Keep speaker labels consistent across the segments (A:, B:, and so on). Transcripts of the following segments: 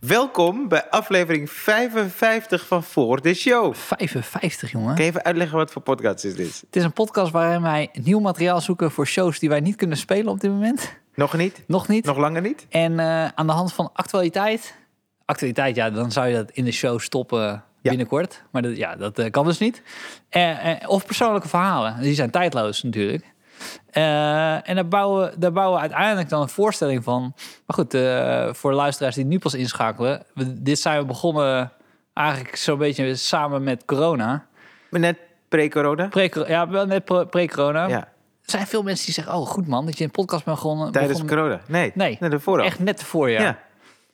A: Welkom bij aflevering 55 van Voor de Show.
B: 55, jongen.
A: Kun je even uitleggen wat voor podcast is dit?
B: Het is een podcast waarin wij nieuw materiaal zoeken voor shows die wij niet kunnen spelen op dit moment.
A: Nog niet?
B: Nog niet.
A: Nog langer niet?
B: En eh, aan de hand van actualiteit. Actualiteit, ja, dan zou je dat in de show stoppen binnenkort. Maar dat, ja, dat eh, kan dus niet. Eh, eh, of persoonlijke verhalen. Die zijn tijdloos natuurlijk. Eh, en daar bouwen, we- daar bouwen we uiteindelijk dan een voorstelling van. Maar goed, eh, voor de luisteraars die nu pas inschakelen. we- dit zijn we begonnen eigenlijk zo'n beetje samen met corona.
A: Maar Net pre-corona?
B: Pre ja, wel net pre- pre-corona.
A: Ja,
B: Er zijn veel mensen die zeggen, oh goed man, dat je een podcast bent begonnen.
A: tijdens
B: begonnen-
A: corona. Nee,
B: Nee,
A: net ervoor al.
B: echt net voor ja.
A: Ja,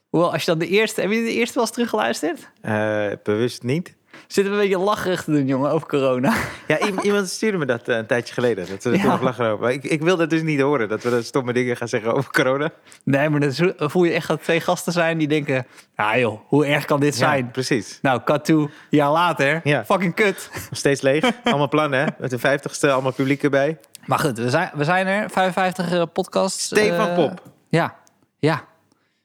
B: Hoewel, als je dan de eerste... Heb je de eerste wel eens teruggeluisterd?
A: Eh, bewust niet.
B: Zitten we een beetje lacherig te doen, jongen, over corona.
A: Ja, i- iemand stuurde me dat eh, een tijdje geleden. Dat we er
B: Ja.
A: toen nog lachen over. Maar ik, ik wil dat dus niet horen, dat we dat stomme dingen gaan zeggen over corona.
B: Nee, maar dan zo- voel je echt dat twee gasten zijn die denken... Ah joh, hoe erg kan dit
A: Ja,
B: zijn?
A: precies.
B: Nou, cut toe, jaar later.
A: Ja.
B: Fucking kut.
A: Nog steeds leeg. Allemaal plannen, hè? Met de vijftigste, allemaal publiek erbij.
B: Maar goed, we zijn, we zijn er. 55 eh, podcasts.
A: Stefan
B: eh,
A: Pop.
B: Ja, ja.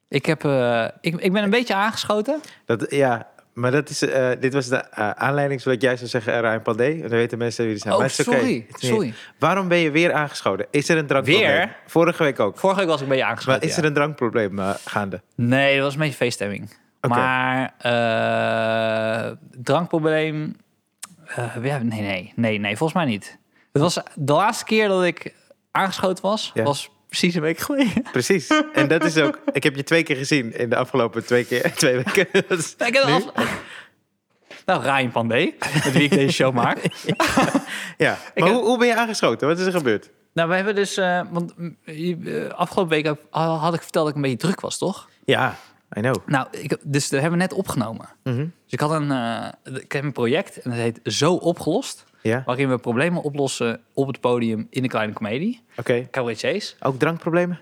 B: Ik, heb, eh, ik, ik ben een beetje aangeschoten.
A: Dat, ja, maar dat is, eh, dit was de eh, aanleiding zodat jij zou zeggen uh, Ryan Pandé. En dan weten mensen wie die zijn.
B: Oh,
A: maar het is oké.
B: sorry,
A: Het is niet-
B: sorry.
A: Waarom ben je weer aangeschoten? Is er een drankprobleem?
B: Weer?
A: Vorige week ook.
B: Vorige week was ik een beetje aangeschoten,
A: Maar is
B: ja.
A: er een drankprobleem eh, gaande?
B: Nee, dat was een beetje feeststemming.
A: Oké.
B: Maar eh, drankprobleem. eh, ja, nee, nee, nee, nee, volgens mij niet. Het was de laatste keer dat ik aangeschoten was,
A: Ja.
B: was precies een week geleden.
A: Precies. En dat is ook... Ik heb je twee keer gezien in de afgelopen twee, keer, twee weken. Dat is-
B: Ik heb
A: nu?
B: af... Nou, Ryan Pandey, met wie ik deze show maak.
A: Ja. Maar
B: heb-
A: hoe, hoe ben je aangeschoten? Wat is er gebeurd?
B: Nou, we hebben dus, eh, want mm, je- eh, afgelopen week heb- had ik verteld dat ik een beetje druk was, toch?
A: Ja, I know.
B: Nou, ik, dus dat hebben we net opgenomen.
A: Mhm.
B: Dus ik had een, eh, ik heb een project en dat heet Zo Opgelost.
A: Ja, oké.
B: waarin we problemen oplossen op het podium in de kleine komedie. Cabaretiers.
A: Ook drankproblemen?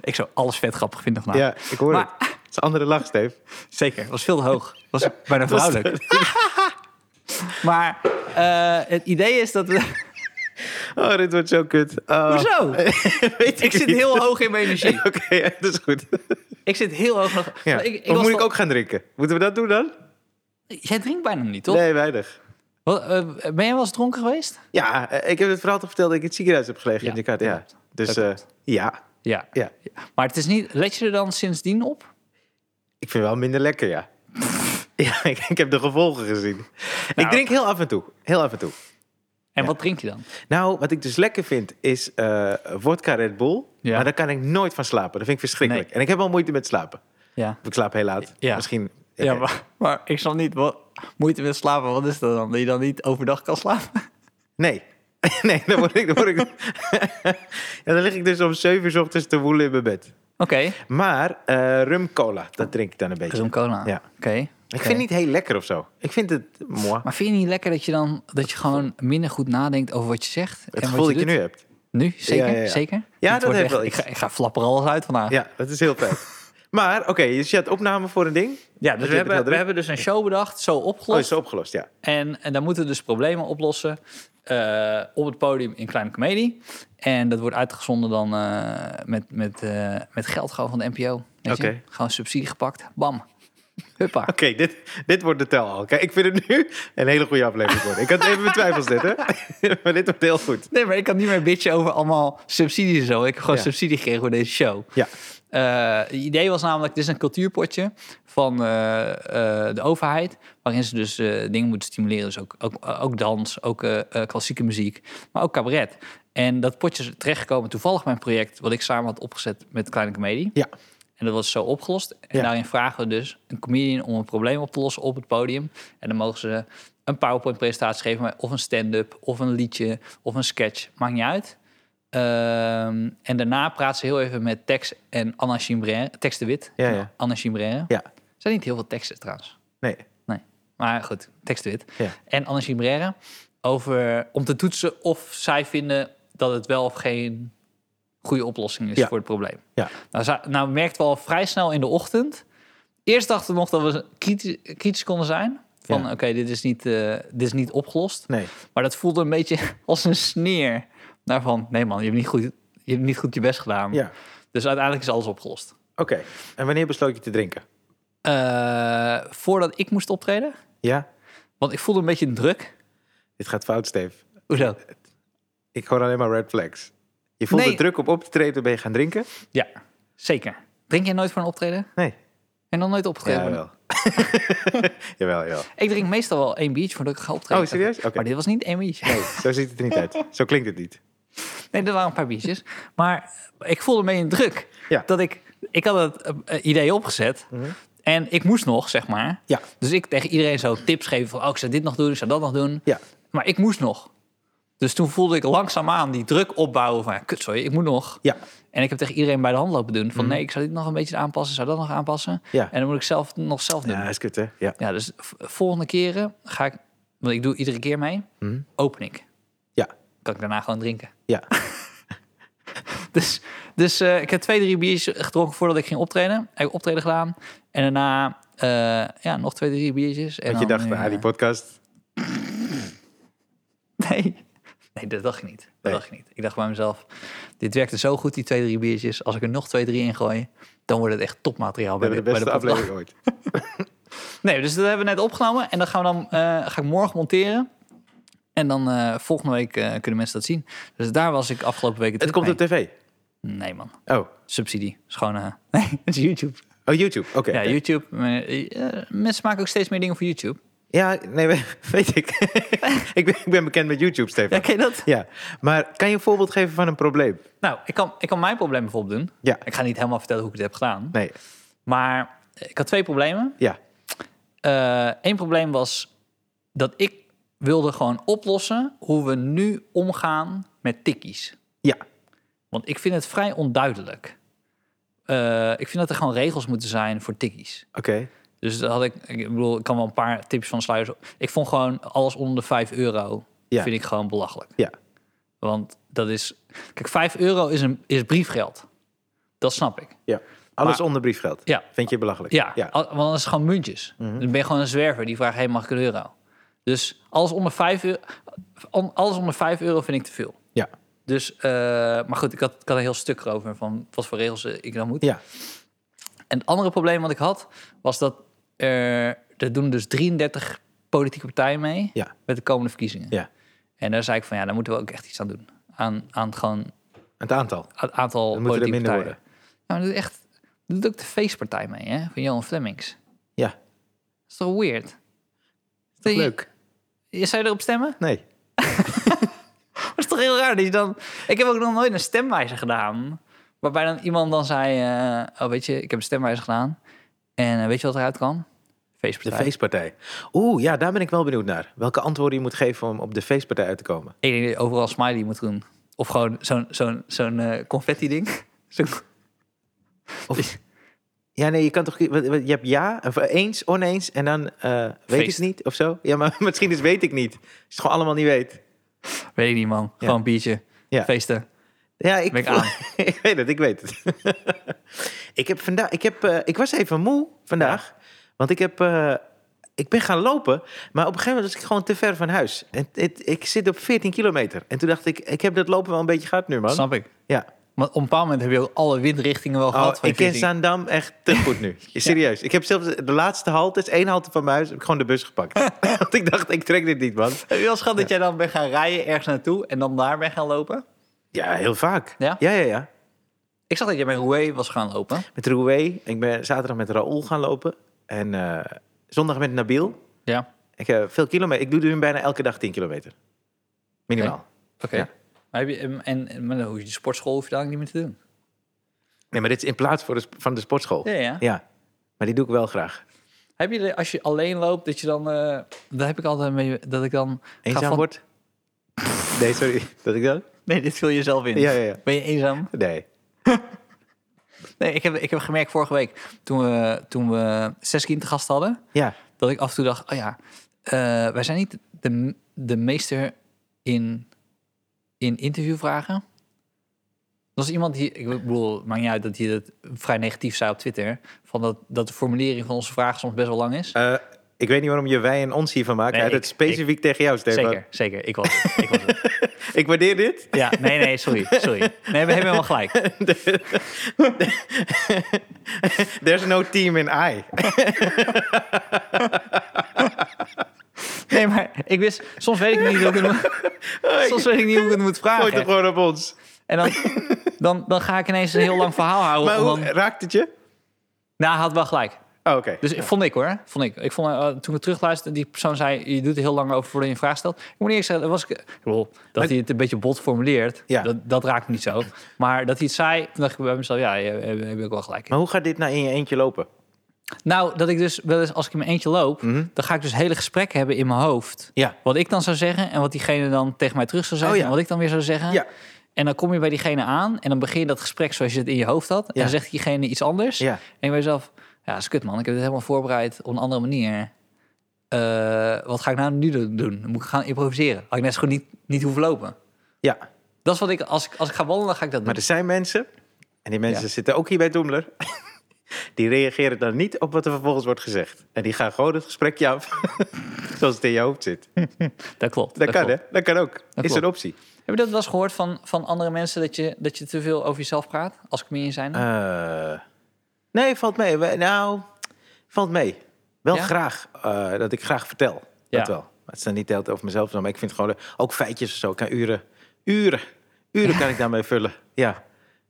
B: Ik zou alles vet grappig vinden vandaag.
A: Ja, ik hoor
B: Maar-
A: het. Het is een andere lach, Steve.
B: Zeker, was veel te hoog. Was bijna vrouwelijk. maar eh, het idee is dat we...
A: Oh, dit wordt zo kut. Oh,
B: Hoezo?
A: weet
B: Ik zit
A: niet.
B: heel hoog in mijn energie.
A: Oké, ja, dat is goed.
B: Ik zit heel hoog. nog-
A: Ja.
B: Ik, ik
A: of
B: was
A: moet ik
B: toch-
A: ook gaan drinken? Moeten we dat doen dan?
B: Jij drinkt bijna niet, toch?
A: Nee, weinig.
B: Wat, eh, ben jij wel eens dronken geweest?
A: Ja, eh, ik heb het verhaal toch verteld dat ik in het ziekenhuis heb gelegen
B: Ja,
A: in Jakarta. Ja.
B: klopt.
A: Dus
B: Dat
A: eh,
B: klopt.
A: ja,
B: Ja.
A: ja,
B: Maar het is niet... Let je er dan sindsdien op?
A: ik vind wel minder lekker, ja. ja, ik, ik heb de gevolgen gezien. ik
B: Nou.
A: drink heel af en toe, heel af en toe.
B: En wat drink je dan?
A: Nou, wat ik dus lekker vind is eh vodka Red Bull.
B: Ja.
A: Maar daar kan ik nooit van slapen. Dat vind ik verschrikkelijk. En ik heb wel moeite met slapen.
B: Ja.
A: Ik slaap heel laat.
B: Ja.
A: Misschien. eh,
B: Ja, maar, maar ik zal niet wat, moeite met slapen. Wat is dat dan? Dat je dan niet overdag kan slapen?
A: Nee. nee, dan word ik... Dan, word ik... ja, dan lig ik dus om 7 uur 's ochtends te woelen in mijn bed.
B: Oké.
A: Maar eh rum cola, dat drink ik dan een beetje.
B: Rum cola.
A: Ja.
B: Oké.
A: Ik vind het niet heel lekker of zo. Ik vind het mooi.
B: Maar vind je niet lekker dat je dan dat je gewoon minder goed nadenkt over wat je zegt?
A: Het
B: en
A: gevoel
B: wat
A: dat je nu hebt.
B: nu. Nu? Zeker?
A: Ja, ja, ja.
B: Zeker?
A: Ja,
B: Het
A: dat
B: wordt
A: heeft wel
B: echt- Ik
A: iets.
B: ga, ik ga flapper alles uit vandaag.
A: Ja, dat is heel fijn. maar oké, dus je had opname voor een ding.
B: Ja,
A: Dat
B: dus
A: je
B: we
A: het wel
B: hebben, we
A: doet.
B: hebben dus een show bedacht, zo
A: Oh,
B: opgelost.
A: is opgelost, ja.
B: En, en dan moeten we dus problemen oplossen eh, op het podium in Kleine Comedie. En dat wordt uitgezonden dan eh, met, met, eh, met geld gewoon van de NPO. Weet je?
A: Oké.
B: Gewoon subsidie gepakt. Bam. Huppa.
A: Oké, dit, dit wordt de tel al. Kijk, ik vind het nu een hele goede aflevering worden. Ik had even mijn twijfels dit, hè. maar dit wordt heel goed.
B: Nee, maar ik kan niet meer bitchen over allemaal subsidies en zo. Ik heb gewoon
A: Ja.
B: subsidie gekregen voor deze show.
A: Ja.
B: Eh, het idee was namelijk, dit is een cultuurpotje van eh, eh, de overheid. Waarin ze dus eh, dingen moeten stimuleren. Dus ook, ook, ook dans, ook eh, eh, klassieke muziek, maar ook cabaret. En dat potje is terechtgekomen toevallig bij een project... wat ik samen had opgezet met Kleine Comedie.
A: Ja.
B: En dat was zo opgelost. En
A: Ja.
B: daarin vragen we dus een comedian om een probleem op te lossen op het podium. En dan mogen ze een PowerPoint-presentatie geven, maar of een stand-up, of een liedje, of een sketch. Maakt niet uit. Ehm, en daarna praten ze heel even met Tex en Anna Chimbrère. Tex de Wit.
A: Ja,
B: en
A: ja.
B: Anna Chimbrère.
A: Ja,
B: Er zijn niet heel veel teksten trouwens.
A: nee.
B: Nee. Maar goed, Tex de Wit.
A: Ja.
B: En Anna Chimbrère. Over, om te toetsen of zij vinden dat het wel of geen goede oplossing is
A: Ja.
B: voor het probleem.
A: Ja.
B: Nou, za- nou merkten we al vrij snel in de ochtend. Eerst dachten we nog dat we kritisch, kritisch konden zijn. Van
A: Ja.
B: oké, dit, is niet, eh, dit is niet opgelost.
A: Nee.
B: Maar dat voelde een beetje als een sneer. Daarvan, nee man, je hebt niet goed je, hebt niet goed je best gedaan.
A: Ja.
B: Dus uiteindelijk is alles opgelost.
A: En wanneer besloot je te drinken?
B: Eh, voordat ik moest optreden,
A: Ja?
B: want ik voelde een beetje druk.
A: Dit gaat fout, Steve.
B: Hoezo?
A: Ik hoor alleen maar red flags. Je voelde
B: Nee.
A: druk op op te treden, ben je gaan drinken?
B: Ja, zeker. Drink jij nooit voor een optreden?
A: Nee.
B: En dan nooit opgetreden?
A: Ja,
B: worden?
A: wel. jawel, jawel.
B: Ik drink meestal wel één biertje voordat ik ga optreden.
A: Oh, serieus? Oké.
B: Maar dit was niet één biertje.
A: Nee, zo ziet het er niet uit. Zo klinkt het niet.
B: Nee, er waren een paar biertjes. Maar ik voelde me in druk.
A: Ja. Mhm.
B: Dat ik, ik had het eh, eh, idee opgezet. En ik moest nog, zeg maar.
A: Ja.
B: Dus ik tegen iedereen zo tips geven van... Oh, ik zou dit nog doen, ik zou dat nog doen.
A: Ja.
B: Maar ik moest nog. Dus toen voelde ik langzaamaan die druk opbouwen van... Kut, sorry, ik moet nog.
A: Ja. Mhm.
B: En ik heb tegen iedereen bij de hand lopen doen. Van nee, ik zou dit nog een beetje aanpassen, zou dat nog aanpassen.
A: Ja.
B: En dan moet ik zelf nog zelf doen.
A: Ja, is kut, hè? Ja.
B: Ja, dus v- volgende keren ga ik, want ik doe iedere keer mee,
A: Mhm.
B: open ik.
A: Ja.
B: Kan ik daarna gewoon drinken.
A: Ja.
B: Dus, dus eh, ik heb twee, drie biertjes gedronken voordat ik ging optreden. Ik heb optreden gedaan. En daarna eh, ja, nog twee, drie biertjes. En
A: Want je
B: dan,
A: dacht,
B: eh,
A: ah, die podcast.
B: nee. nee, dat dacht ik niet. Dat
A: Nee.
B: dacht ik niet. Ik dacht bij mezelf, dit werkte zo goed, die twee, drie biertjes. Als ik er nog twee, drie in gooi, dan wordt het echt topmateriaal.
A: We
B: Bij de,
A: hebben de beste
B: bij de podcast.
A: aflevering ooit.
B: Nee, dus dat hebben we net opgenomen. En dat gaan we dan, eh, ga ik morgen monteren. En dan eh, volgende week eh, kunnen mensen dat zien. Dus daar was ik afgelopen week
A: Het
B: druk
A: komt
B: mee.
A: op tv.
B: Nee man,
A: Oh,
B: subsidie. Is gewoon... eh, nee, het is YouTube.
A: oh YouTube. Oké.
B: Ja,
A: oké.
B: YouTube. maar, eh, mensen maken ook steeds meer dingen voor YouTube.
A: Ja, nee, we- weet ik. ik, ben, ik ben bekend met YouTube,
B: Ja,
A: Stefan.
B: ken je dat?
A: Ja, maar kan je een voorbeeld geven van een probleem?
B: Nou, ik kan, ik kan mijn probleem bijvoorbeeld doen.
A: Ja.
B: Ik ga niet helemaal vertellen hoe ik het heb gedaan.
A: Nee,
B: Maar ik had twee problemen.
A: ja.
B: Eén probleem was dat ik wilde gewoon oplossen... hoe we nu omgaan met tikkies.
A: Ja,
B: Want ik vind het vrij onduidelijk. Eh, ik vind dat er gewoon regels moeten zijn voor tikkies.
A: oké.
B: Dus dat had ik, ik bedoel, ik kan wel een paar tips van sluiers. op- Ik vond gewoon alles onder de 5 euro,
A: Ja.
B: vind ik gewoon belachelijk.
A: Ja,
B: Want dat is, kijk, 5 euro is, een, is briefgeld. Dat snap ik.
A: ja. Alles
B: Maar-
A: onder briefgeld.
B: Ja.
A: Vind je belachelijk?
B: Ja,
A: Ja, Mhm.
B: al- want dan is het gewoon muntjes. Dan ben je gewoon een zwerver die vraagt, hey, mag ik een euro? Dus alles onder 5 euro, alles onder 5 euro vind ik te veel.
A: ja.
B: Dus, eh, maar goed, ik had, ik had een heel stuk erover van wat voor regels eh, ik dan moet.
A: ja.
B: En het andere probleem wat ik had, was dat er, er doen dus 33 politieke partijen mee
A: Ja.
B: met de komende verkiezingen.
A: ja.
B: En daar zei ik van, ja, daar moeten we ook echt iets aan doen. Aan, aan gewoon
A: Het aantal.
B: het aantal
A: Dan moeten er
B: politieke
A: minder
B: partijen.
A: worden.
B: Nou, dat is echt, dat doet ook de feestpartij mee, hè, van Johan Flemings.
A: Ja,
B: Dat is toch weird?
A: dat
B: Die-
A: is leuk.
B: Zou je erop stemmen?
A: Nee.
B: Dat is toch heel raar dat je dan... Ik heb ook nog nooit een stemwijzer gedaan. Waarbij dan iemand dan zei... eh, oh, weet je, ik heb een stemwijzer gedaan. En eh, weet je wat eruit kwam?
A: De
B: Feestpartij.
A: feestpartij. Oeh, ja, daar ben ik wel benieuwd naar. Welke antwoorden je moet geven om op de feestpartij uit te komen.
B: Ik denk dat je overal smiley moet doen. Of gewoon zo'n zo'n zo'n eh, confetti ding. Zo'n-
A: Of, ja, nee, je kan toch... wat- wat- Je hebt ja, of eh, eens, oneens en dan eh, weet
B: Feest.
A: ik niet of zo. Ja, maar misschien is weet ik niet. Als je het gewoon allemaal niet weet.
B: Weet ik niet, man. Gewoon een biertje.
A: Ja.
B: Feesten.
A: Ja, ik,
B: Ben ik
A: voel-
B: aan.
A: ik weet het, ik weet het. ik, heb vandaag, ik, heb, eh, ik was even moe vandaag, want ik, heb, eh, ik ben gaan lopen, maar op een gegeven moment was ik gewoon te ver van huis. En het, ik zit op 14 kilometer. En toen dacht ik, ik heb dat lopen wel een beetje gehad nu, man.
B: Snap ik.
A: Ja.
B: Maar op een bepaald moment heb je ook alle windrichtingen wel
A: Oh,
B: gehad. van
A: ik ken
B: feesting.
A: Zaandam echt te goed nu. Serieus. Ik heb zelfs de laatste halte, het is één halte van mijn huis, heb ik gewoon de bus gepakt. want ik dacht, ik trek dit niet, man.
B: Heb je wel eens gehad dat jij dan bent gaan rijden ergens naartoe... en dan daar bent gaan lopen?
A: Ja, heel vaak.
B: Ja?
A: Ja, ja, ja.
B: Ik zag dat jij bij Roué was gaan lopen.
A: Met Roué. Ik ben zaterdag met Raoul gaan lopen. En eh, zondag met Nabil.
B: Ja.
A: Ik heb veel kilometer. Ik doe dus nu bijna elke dag 10 kilometer. Minimaal.
B: Oké.
A: Ja.
B: Maar heb je, en, en, en- maar dan hoef je de sportschool hoef je daar ook niet meer te doen.
A: Nee, maar dit is in plaats voor de, sp- van de sportschool.
B: Ja, ja.
A: Maar die doe ik wel graag.
B: Heb je, de- als je alleen loopt, dat je dan... eh dat heb ik altijd mee, dat ik dan... ga
A: Eenzaam
B: van-
A: wordt? Nee, sorry. Dat ik dat?
B: Nee, dit vul je zelf in.
A: Ja, ja, ja.
B: Ben je eenzaam?
A: Nee.
B: Nee, ik heb, ik heb gemerkt vorige week, toen we, toen we zes kind te gast hadden,
A: Ja.
B: dat ik af en toe dacht, oh ja, eh, wij zijn niet de, de meester in, in interviewvragen. Er was iemand die, ik bedoel, het maakt niet uit dat hij dat vrij negatief zei op Twitter, van dat, dat de formulering van onze vragen soms best wel lang is.
A: Eh, ik weet niet waarom je wij en ons hiervan maakt.
B: Nee,
A: Hij had
B: ik-
A: het specifiek tegen jou, Stefan.
B: Zeker, zeker. Ik was het. Ik was het.
A: Ik waardeer dit.
B: Ja, nee, nee, sorry. sorry. Nee, we hebben helemaal gelijk.
A: There's no team in I.
B: Nee, maar ik wist, soms weet ik niet hoe ik het moet, soms weet ik niet hoe ik het moet
A: Gooi het
B: vragen.
A: gewoon op ons.
B: En dan, dan, dan ga ik ineens een heel lang verhaal houden.
A: Maar
B: om
A: hoe
B: dan,
A: raakt het je?
B: nou, hij had wel gelijk.
A: Oh, Oké.
B: Dus vond ik hoor. Vond ik. ik vond, eh, toen ik terugluisterde, die persoon zei: Je doet er heel lang over voordat je een vraag stelt. Ik moet eerlijk zeggen, dat was ik. ik bedoel, dat hij het een beetje bot formuleert,
A: Ja.
B: dat, dat raakt me niet zo. Maar dat hij het zei, toen dacht ik bij mezelf: Ja, je- je- je hebt ook wel gelijk.
A: Maar hoe gaat dit nou in je eentje lopen?
B: Nou, dat ik dus wel eens als ik in mijn eentje loop,
A: Mhm.
B: dan ga ik dus hele gesprekken hebben in mijn hoofd.
A: Ja.
B: Wat ik dan zou zeggen en wat diegene dan tegen mij terug zou zeggen.
A: Oh ja.
B: En wat ik dan weer zou zeggen.
A: Ja.
B: En dan kom je bij diegene aan en dan begin je dat gesprek zoals je het in je hoofd had. En
A: Ja.
B: dan zegt diegene iets anders.
A: Ja.
B: En je bij jezelf, ja, dat is kut man. Ik heb dit helemaal voorbereid op een andere manier. Eh, wat ga ik nou nu do- doen? Dan moet ik gaan improviseren. Had ik net zo goed niet, niet hoeven lopen.
A: Ja.
B: Dat is wat ik, als ik, als ik ga wandelen, dan ga ik dat doen.
A: Maar er zijn mensen, en die mensen
B: Ja.
A: zitten ook hier bij Doemler, die reageren dan niet op wat er vervolgens wordt gezegd. En die gaan gewoon het gesprekje af, zoals het in je hoofd zit.
B: dat klopt.
A: Dat, kan,
B: klopt.
A: hè? Dat kan ook. is
B: klopt.
A: een optie.
B: Heb je dat wel eens gehoord van, van andere mensen dat je, dat je te veel over jezelf praat? Als comedian zijn?
A: Eh, nee, valt mee. We- Nou, valt mee. Wel
B: Ja?
A: graag, eh, dat ik graag vertel.
B: Ja.
A: Dat wel. Maar het is dan niet de hele tijd over mezelf, maar ik vind het gewoon leuk. ook feitjes of zo. Ik kan uren, uren, uren kan ik daarmee vullen. Ja.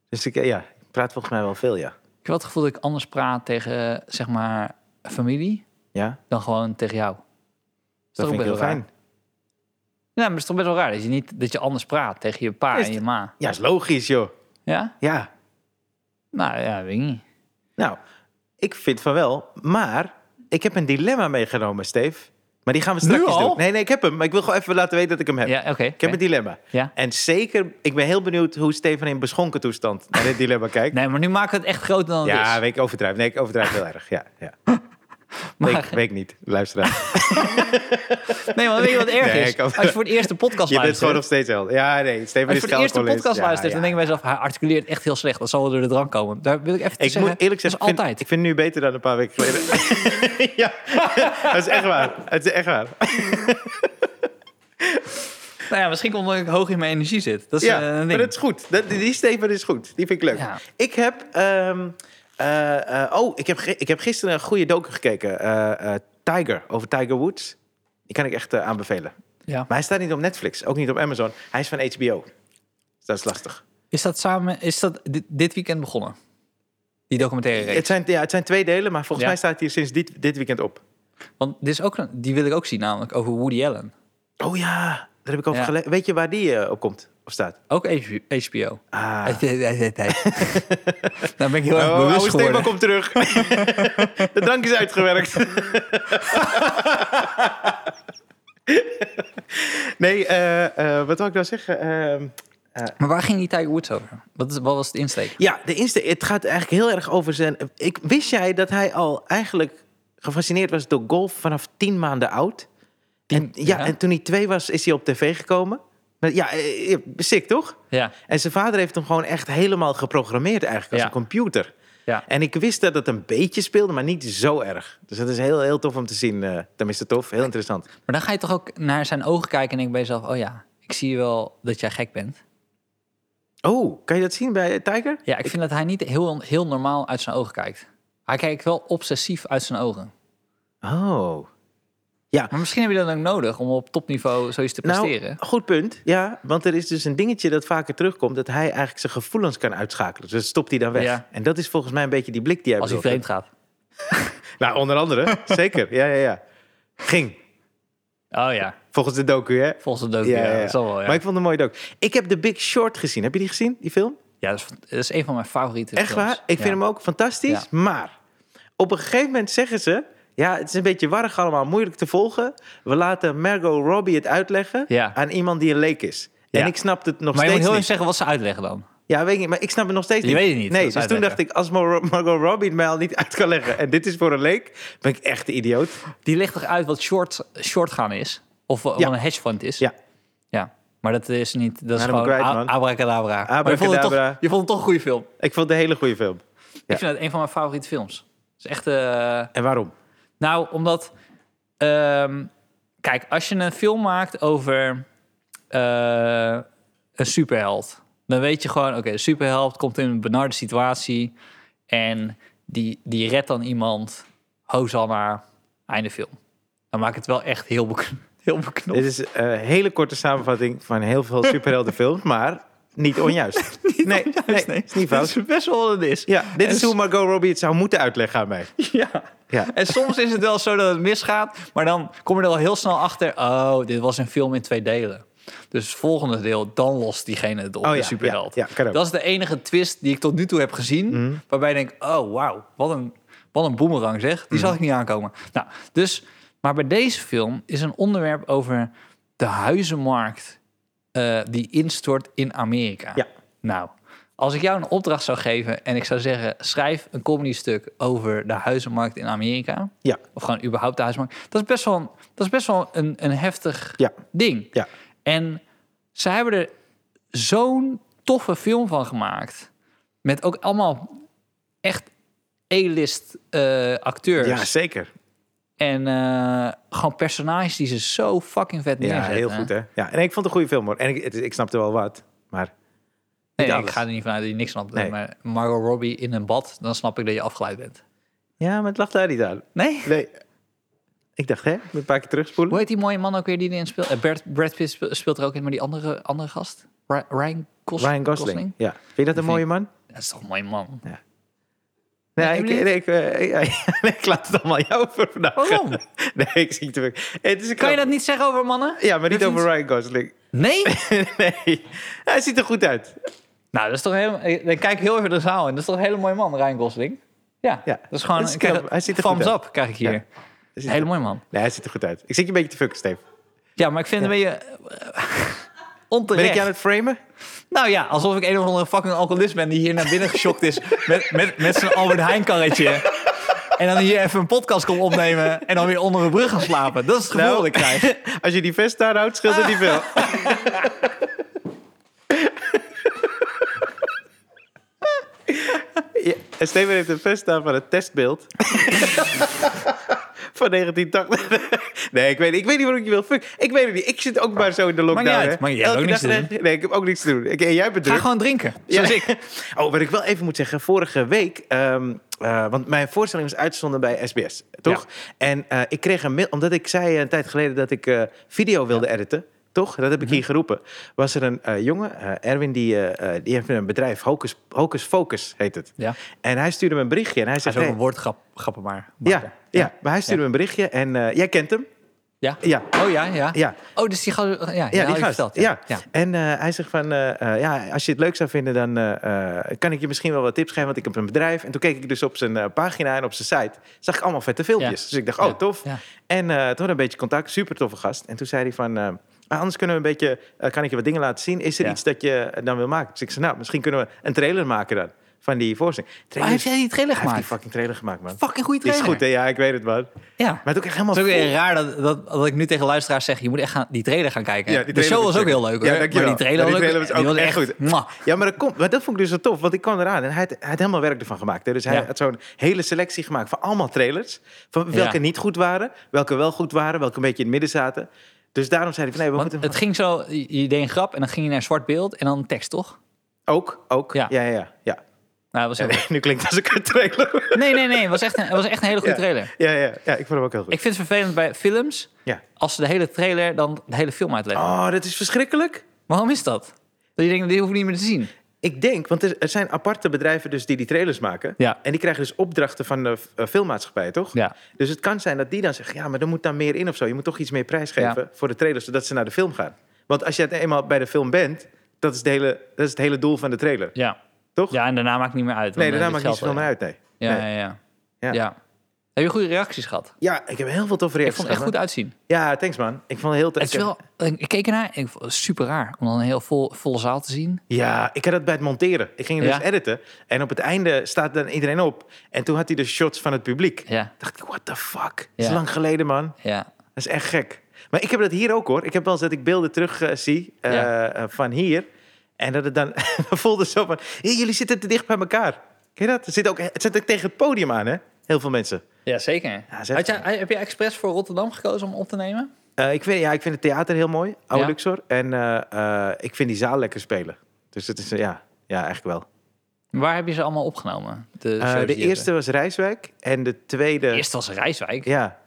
A: Dus ik, eh, ja, ik praat volgens mij wel veel, ja.
B: Ik heb wel het gevoel dat ik anders praat tegen, zeg maar, familie
A: Ja,
B: dan gewoon tegen jou. Dat, is
A: dat
B: toch
A: vind ik
B: best
A: heel
B: wel raar?
A: fijn.
B: Ja, maar het is toch best wel raar dat je, niet, dat je anders praat tegen je pa
A: Is
B: en
A: het-
B: je ma.
A: Ja, is logisch, joh.
B: Ja?
A: Ja,
B: Nou ja, weet ik niet.
A: Nou, ik vind van wel, maar ik heb een dilemma meegenomen, Steve. Maar die gaan we
B: Nu
A: straks
B: al?
A: doen. Nee, nee, ik heb hem, maar ik wil gewoon even laten weten dat ik hem heb.
B: Ja, oké.
A: Ik heb
B: oké.
A: een dilemma.
B: Ja.
A: En zeker, ik ben heel benieuwd hoe Steven in beschonken toestand naar dit dilemma kijkt.
B: Nee, maar nu maken we het echt groter dan het
A: ja,
B: is.
A: weet ik overdrijf. Nee, ik overdrijf heel erg. Ja, ja.
B: Maar-
A: Weet, ik- weet ik niet. Luisteraar.
B: Nee, maar weet je wat erg
A: Nee,
B: is?
A: ik ook-
B: Als je voor het eerst de podcast
A: Je bent
B: luistert...
A: gewoon nog steeds al. Ja, nee. Steven
B: als
A: is
B: je voor de eerste
A: alcoholist.
B: podcast
A: Ja,
B: luistert,
A: ja.
B: dan denk je bij jezelf... hij articuleert echt heel slecht. Dat zal wel door de drank komen. Daar wil ik even te
A: Ik
B: zeggen,
A: moet eerlijk zeggen,
B: dat is
A: ik vind,
B: altijd.
A: ik vind het nu beter dan een paar weken geleden. ja, dat is echt waar. Het is echt waar.
B: Nou ja, misschien omdat ik hoog in mijn energie zit. Dat is
A: Ja,
B: eh, een
A: maar
B: ding.
A: dat is goed. Dat, die Steven is goed. Die vind ik leuk.
B: Ja.
A: Ik heb... ehm, eh, eh, oh, ik heb, ge- ik heb gisteren een goede docu gekeken. Eh, eh, Tiger, over Tiger Woods. Die kan ik echt eh, aanbevelen.
B: Ja.
A: Maar hij staat niet op Netflix, ook niet op Amazon. Hij is van HBO. Dus dat is lastig.
B: Is dat samen, is dat di- dit weekend begonnen? Die documentaire reeks.
A: Het zijn, ja, het zijn twee delen, maar volgens
B: Ja.
A: mij staat hij sinds dit, dit weekend op.
B: Want dit is ook een, die wil ik ook zien, namelijk over Woody Allen.
A: Oh ja, daar heb ik over
B: Ja.
A: gelezen. Weet je waar die eh, op komt of staat?
B: Ook HBO.
A: Ah.
B: Daar ben ik heel erg
A: Oh,
B: bewust
A: oude Stefan
B: geworden.
A: komt terug. De drank is uitgewerkt. nee, eh, eh, wat wil ik nou zeggen? Ehm,
B: Maar waar ging die Tiger Woods over? Wat, is, wat was de insteek?
A: ja, de Insta, het gaat eigenlijk heel erg over zijn... Ik, wist jij dat hij al eigenlijk gefascineerd was door golf vanaf tien maanden oud?
B: Tien-
A: en, ja,
B: ja.
A: en toen hij twee was, is hij op tv gekomen. Maar ja, eh, eh, sick toch?
B: Ja,
A: En zijn vader heeft hem gewoon echt helemaal geprogrammeerd eigenlijk als
B: Ja.
A: een computer.
B: ja.
A: En ik wist dat het een beetje speelde, maar niet zo erg. Dus dat is heel, heel tof om te zien. eh, tenminste, tof. Heel interessant.
B: Maar dan ga je toch ook naar zijn ogen kijken en denk bij jezelf... oh ja, ik zie wel dat jij gek bent.
A: Oh, kan je dat zien bij Tiger?
B: Ja, ik vind dat hij niet heel, heel normaal uit zijn ogen kijkt. Hij kijkt wel obsessief uit zijn ogen.
A: Oh.
B: Maar misschien heb je dat ook nodig om op topniveau zoiets te presteren.
A: Nou, goed punt. Ja, want er is dus een dingetje dat vaker terugkomt... dat hij eigenlijk zijn gevoelens kan uitschakelen. Dus dat stopt hij dan weg.
B: Ja.
A: En dat is volgens mij een beetje die blik die hij
B: als hij
A: bedoelt.
B: vreemd gaat.
A: Nou, onder andere. zeker. Ja, ja, ja. Ging.
B: Oh ja,
A: Volgens de docu, hè?
B: volgens de docu.
A: Ja,
B: Ja,
A: ja, ja.
B: Dat zal wel, ja.
A: Maar ik vond het mooi docu. Ik heb The Big Short gezien. Heb je die gezien, die film?
B: Ja, dat is, dat is een van mijn favoriete
A: Echt
B: films.
A: waar? Ik vind
B: Ja.
A: hem ook fantastisch.
B: Ja.
A: Maar op een gegeven moment zeggen ze... Ja, het is een beetje warrig allemaal, moeilijk te volgen. We laten Margot Robbie het uitleggen
B: Ja.
A: aan iemand die een leek is.
B: Ja.
A: En ik snap het nog
B: Maar je
A: steeds
B: moet heel
A: niet.
B: even zeggen wat ze uitleggen dan.
A: Ja, weet ik niet, maar ik snap het nog steeds
B: Je
A: niet.
B: weet het niet,
A: Nee,
B: dat
A: dus
B: is
A: toen dacht
B: uitleggen.
A: ik, als Mar- Margot Robbie het mij al niet uit kan leggen... en dit is voor een leek, ben ik echt een idioot.
B: Die legt toch uit wat short, short gaan is? Of wat
A: Ja.
B: een hedge fund is?
A: Ja.
B: Ja. Maar dat is niet... Dat is
A: Nou, dat ben ik
B: gewoon
A: kwijt,
B: a-
A: man.
B: abracadabra. Maar je vond, het toch,
A: Abracadabra.
B: je vond het toch een goede film.
A: Ik vond het een hele goede film. Ja.
B: Ik vind het een van mijn favoriete films. Het is echt... eh,
A: En waarom?
B: nou, omdat... ehm, kijk, als je een film maakt over... eh, eh, een superheld. Dan weet je gewoon, oké, de superheld komt in een benarde situatie en die, die redt dan iemand. Hosanna, einde film. Dan maakt het wel echt heel, bek heel beknopt.
A: Dit is eh, een hele korte samenvatting van heel veel superheldenfilms, maar niet onjuist. nee, nee,
B: nee.
A: is niet
B: Dat
A: fout.
B: is best wel wat het is.
A: Ja, dit
B: En
A: is
B: s-
A: hoe Margot Robbie het zou moeten uitleggen aan mij. Oh
B: Ja.
A: Ja.
B: En soms is het wel zo dat het misgaat, maar dan kom je er al heel snel achter. Oh, dit was een film in twee delen. Dus het volgende deel, dan lost diegene het op,
A: Oh
B: de
A: ja,
B: superheld.
A: ja, Mhm. ja, kan ook.
B: dat is de enige twist die ik tot nu toe heb gezien, waarbij ik denk, oh wauw, wat een, wat een boemerang zeg. Die
A: Mhm.
B: zag ik niet aankomen. Nou, dus, maar bij deze film is een onderwerp over de huizenmarkt eh, die instort in Amerika.
A: Ja.
B: Nou, als ik jou een opdracht zou geven en ik zou zeggen: schrijf een comedy stuk over de huizenmarkt in Amerika.
A: Ja,
B: Of gewoon überhaupt de huizenmarkt. Dat is best wel, een- dat is best wel een, een heftig
A: ja,
B: ding.
A: ja.
B: En ze hebben er zo'n toffe film van gemaakt. Met ook allemaal echt A-list eh, acteurs.
A: Ja, zeker.
B: En eh, gewoon personages die ze zo fucking vet
A: Ja,
B: neerzetten.
A: heel goed hè. Ja, en ik vond het een goede film hoor. En ik, het- ik snapte wel wat, maar
B: Nee,
A: Niet
B: ik
A: alles.
B: ga er niet vanuit dat je niks snapt.
A: Nee.
B: Maar Margot Robbie in een bad, dan snap ik dat je afgeleid bent.
A: ja, maar het lag daar niet aan.
B: Nee?
A: Nee. Ik dacht, hè, ik moet een paar keer terugspoelen.
B: Hoe heet die mooie man ook weer die erin speelt? Eh, Bert, Brad Pitt spe- speelt er ook in, maar die andere, andere gast? Ri- Ryan, Gos-
A: Ryan Gosling. Ja. Vind je dat een
B: vind
A: mooie
B: ik-
A: man?
B: Dat is toch een mooie man?
A: Nee,
B: Nee,
A: ik,
B: hem niet?
A: nee, ik, eh, nee, ik laat het allemaal jou voor vandaag.
B: Waarom?
A: Nee, ik zie het weer. Het is een
B: Kan je
A: grap.
B: dat niet zeggen over mannen?
A: Ja, maar niet
B: Dat
A: over Ryan Gosling.
B: Nee?
A: nee, hij ziet er goed uit.
B: nou, dat is toch helemaal... eh, Dan kijk ik heel even de zaal in. Dat is toch een hele mooie man, Ryan Gosling? Ja,
A: Ja,
B: dat is gewoon...
A: dat is
B: ik krijg
A: knap. Hij ziet er goed
B: thumbs
A: uit.
B: up krijg ik hier.
A: Ja, hij Hij ziet er-
B: hele mooie man.
A: Nee, hij ziet er goed uit. Ik zit je een beetje te fucken, Steve.
B: Ja, maar ik vind het een beetje... eh, Onterecht.
A: Ben ik je aan het framen?
B: Nou ja, alsof ik een of andere fucking alcoholist ben die hier naar binnen geschokt is met, met, met zijn Albert Heijn karretje. En dan hier even een podcast komt opnemen en dan weer onder een brug gaan slapen. Dat is het gevoel
A: Nou.
B: dat ik krijg.
A: Als je die vest daar houdt, scheelt het niet veel. Ja, en Steven heeft een vest aan van het testbeeld. van 1980. nee, ik weet, niet- ik weet niet waarom ik je wil fuck. Ik weet het niet. Ik zit ook maar zo in de lockdown.
B: uit,
A: hè.
B: maar jij hebt
A: Elke
B: ook niks
A: dag
B: te
A: zeg- Nee, ik heb ook niks te doen. Ik, en jij bent
B: Ga
A: druk.
B: gewoon drinken, zoals ik.
A: Oh, wat ik wel even moet zeggen. Vorige week, ehm, eh, want mijn voorstelling was uitgezonden bij SBS, toch? En eh, ik kreeg een mail, omdat ik zei een tijd geleden dat ik eh, video wilde editen. Toch? Dat heb ik
B: Mhm.
A: hier geroepen. Was er een eh, jongen, eh, Erwin, die, eh, eh, die heeft een bedrijf, Hocus, Hocus Focus heet het.
B: Ja.
A: En hij stuurde me een berichtje en hij
B: Dat
A: zei...
B: is ook
A: hey,
B: een woordgrap, grappen maar.
A: ja,
B: maken.
A: ja, maar hij stuurde me een berichtje en eh, jij kent hem?
B: ja.
A: Ja.
B: Oh ja, ja.
A: Ja.
B: Oh, dus die gast... Ja, ja,
A: Ja,
B: had
A: die
B: je
A: gast.
B: verteld,
A: ja.
B: ja.
A: En eh, hij zegt van, eh, eh, ja, als je het leuk zou vinden, dan eh, eh, kan ik je misschien wel wat tips geven, want ik heb een bedrijf. En toen keek ik dus op zijn eh, pagina en op zijn site, zag ik allemaal vette filmpjes.
B: Ja.
A: Dus ik dacht, oh,
B: Ja.
A: tof.
B: Ja.
A: En eh, toen een beetje contact, super toffe gast. En toen zei hij van, eh, ah, anders kunnen we een beetje, eh, kan ik je wat dingen laten zien? Is er
B: Ja.
A: iets dat je dan wil maken? Dus ik zei, nou, misschien kunnen we een trailer maken dan, van die voorstelling.
B: Maar Oh, heeft jij die trailer
A: Hij heeft die
B: gemaakt?
A: fucking trailer gemaakt, man.
B: Fucking goede
A: Die is
B: trailer.
A: goed, hè? Ja, ik weet het, man.
B: Ja.
A: Maar toen kreeg ik helemaal...
B: Het is ook
A: vol-
B: weer raar dat, dat, dat ik nu tegen luisteraars zeg... je moet echt gaan, die trailer gaan kijken.
A: Ja, die
B: de
A: trailer
B: show was
A: was
B: ook
A: leuk.
B: heel leuk,
A: Ja,
B: hoor.
A: dankjewel.
B: Maar die trailer,
A: Maar die
B: was,
A: trailer was ook echt goed.
B: mwah.
A: Ja, maar dat, komt, maar dat vond ik dus zo tof. Want ik kwam eraan en hij had, hij had helemaal werk ervan gemaakt. Hè? Dus hij
B: Ja.
A: had zo'n hele selectie gemaakt van allemaal trailers. Van welke
B: Ja.
A: niet goed waren, welke wel goed waren, welke een beetje in het midden zaten. Dus daarom zei hij van nee, we
B: Want
A: moeten...
B: het ging zo, je je deed een grap en dan ging je naar zwart beeld en dan tekst, toch?
A: Ook, ook. Ja,
B: Ja.
A: ja, ja. ja.
B: Nou, dat was heel-
A: nu klinkt het als een kut trailer.
B: Nee, nee, nee, het was echt een, het was echt een hele goede
A: Ja.
B: trailer.
A: Ja, ja, ja, ik vond hem ook heel goed.
B: Ik vind het vervelend bij films,
A: Ja.
B: als ze de hele trailer dan de hele film uitleggen.
A: Oh, dat is verschrikkelijk.
B: Waarom is dat? Dat je denkt, die hoef ik niet meer te zien.
A: Ik denk, want er, er zijn aparte bedrijven dus die die trailers maken.
B: Ja.
A: En die krijgen dus opdrachten van de eh, filmmaatschappijen, toch?
B: Ja.
A: Dus het kan zijn dat die dan zeggen, ja, maar er moet dan meer in of zo. Je moet toch iets meer prijs geven
B: Ja.
A: voor de trailer, zodat ze naar de film gaan. Want als je het eenmaal bij de film bent, dat is, de hele, dat is het hele doel van de trailer,
B: Ja.
A: toch?
B: ja, en daarna maakt het niet meer uit.
A: nee,
B: want dan
A: daarna
B: heb
A: maakt
B: je
A: niet
B: het
A: zoveel
B: geld
A: meer uit, nee.
B: wel.
A: Nee.
B: Ja, ja,
A: Ja.
B: ja, ja. Heb je goede reacties gehad?
A: Ja, ik heb heel veel toffe
B: Ik
A: reacties.
B: vond het echt goed
A: gehad,
B: uitzien.
A: man. Ja, thanks man. Ik vond het heel...
B: Het is wel, ik keek ernaar en ik vond het super raar om dan een heel vol, volle zaal te zien.
A: Ja, ik had dat bij het monteren. Ik ging
B: Ja.
A: dus editen. En op het einde staat dan iedereen op. En toen had hij de shots van het publiek.
B: Ja,
A: dacht ik, what the fuck? Dat is
B: Ja.
A: lang geleden, man.
B: ja.
A: Dat is echt gek. Maar ik heb dat hier ook hoor. Ik heb wel eens dat ik beelden terug eh, zie eh,
B: Ja.
A: eh, van hier. En dat het dan voelde zo van... "Hé, jullie zitten te dicht bij elkaar. Ken je dat? Het zit, ook, het zit ook tegen het podium aan, hè? Heel veel mensen.
B: Ja, zeker.
A: Ja, zet-
B: Had jij, heb je expres voor Rotterdam gekozen om op te nemen?
A: Eh, ik, vind, ja, ik vind het theater heel mooi, Oude
B: Ja.
A: Luxor. En eh, eh, ik vind die zaal lekker spelen. Dus het is, eh, ja, ja, eigenlijk wel.
B: Waar heb je ze allemaal opgenomen? De,
A: Eh,
B: shows die
A: de
B: je hebt-
A: eerste was Rijswijk en de tweede...
B: De eerste was Rijswijk.
A: Ja,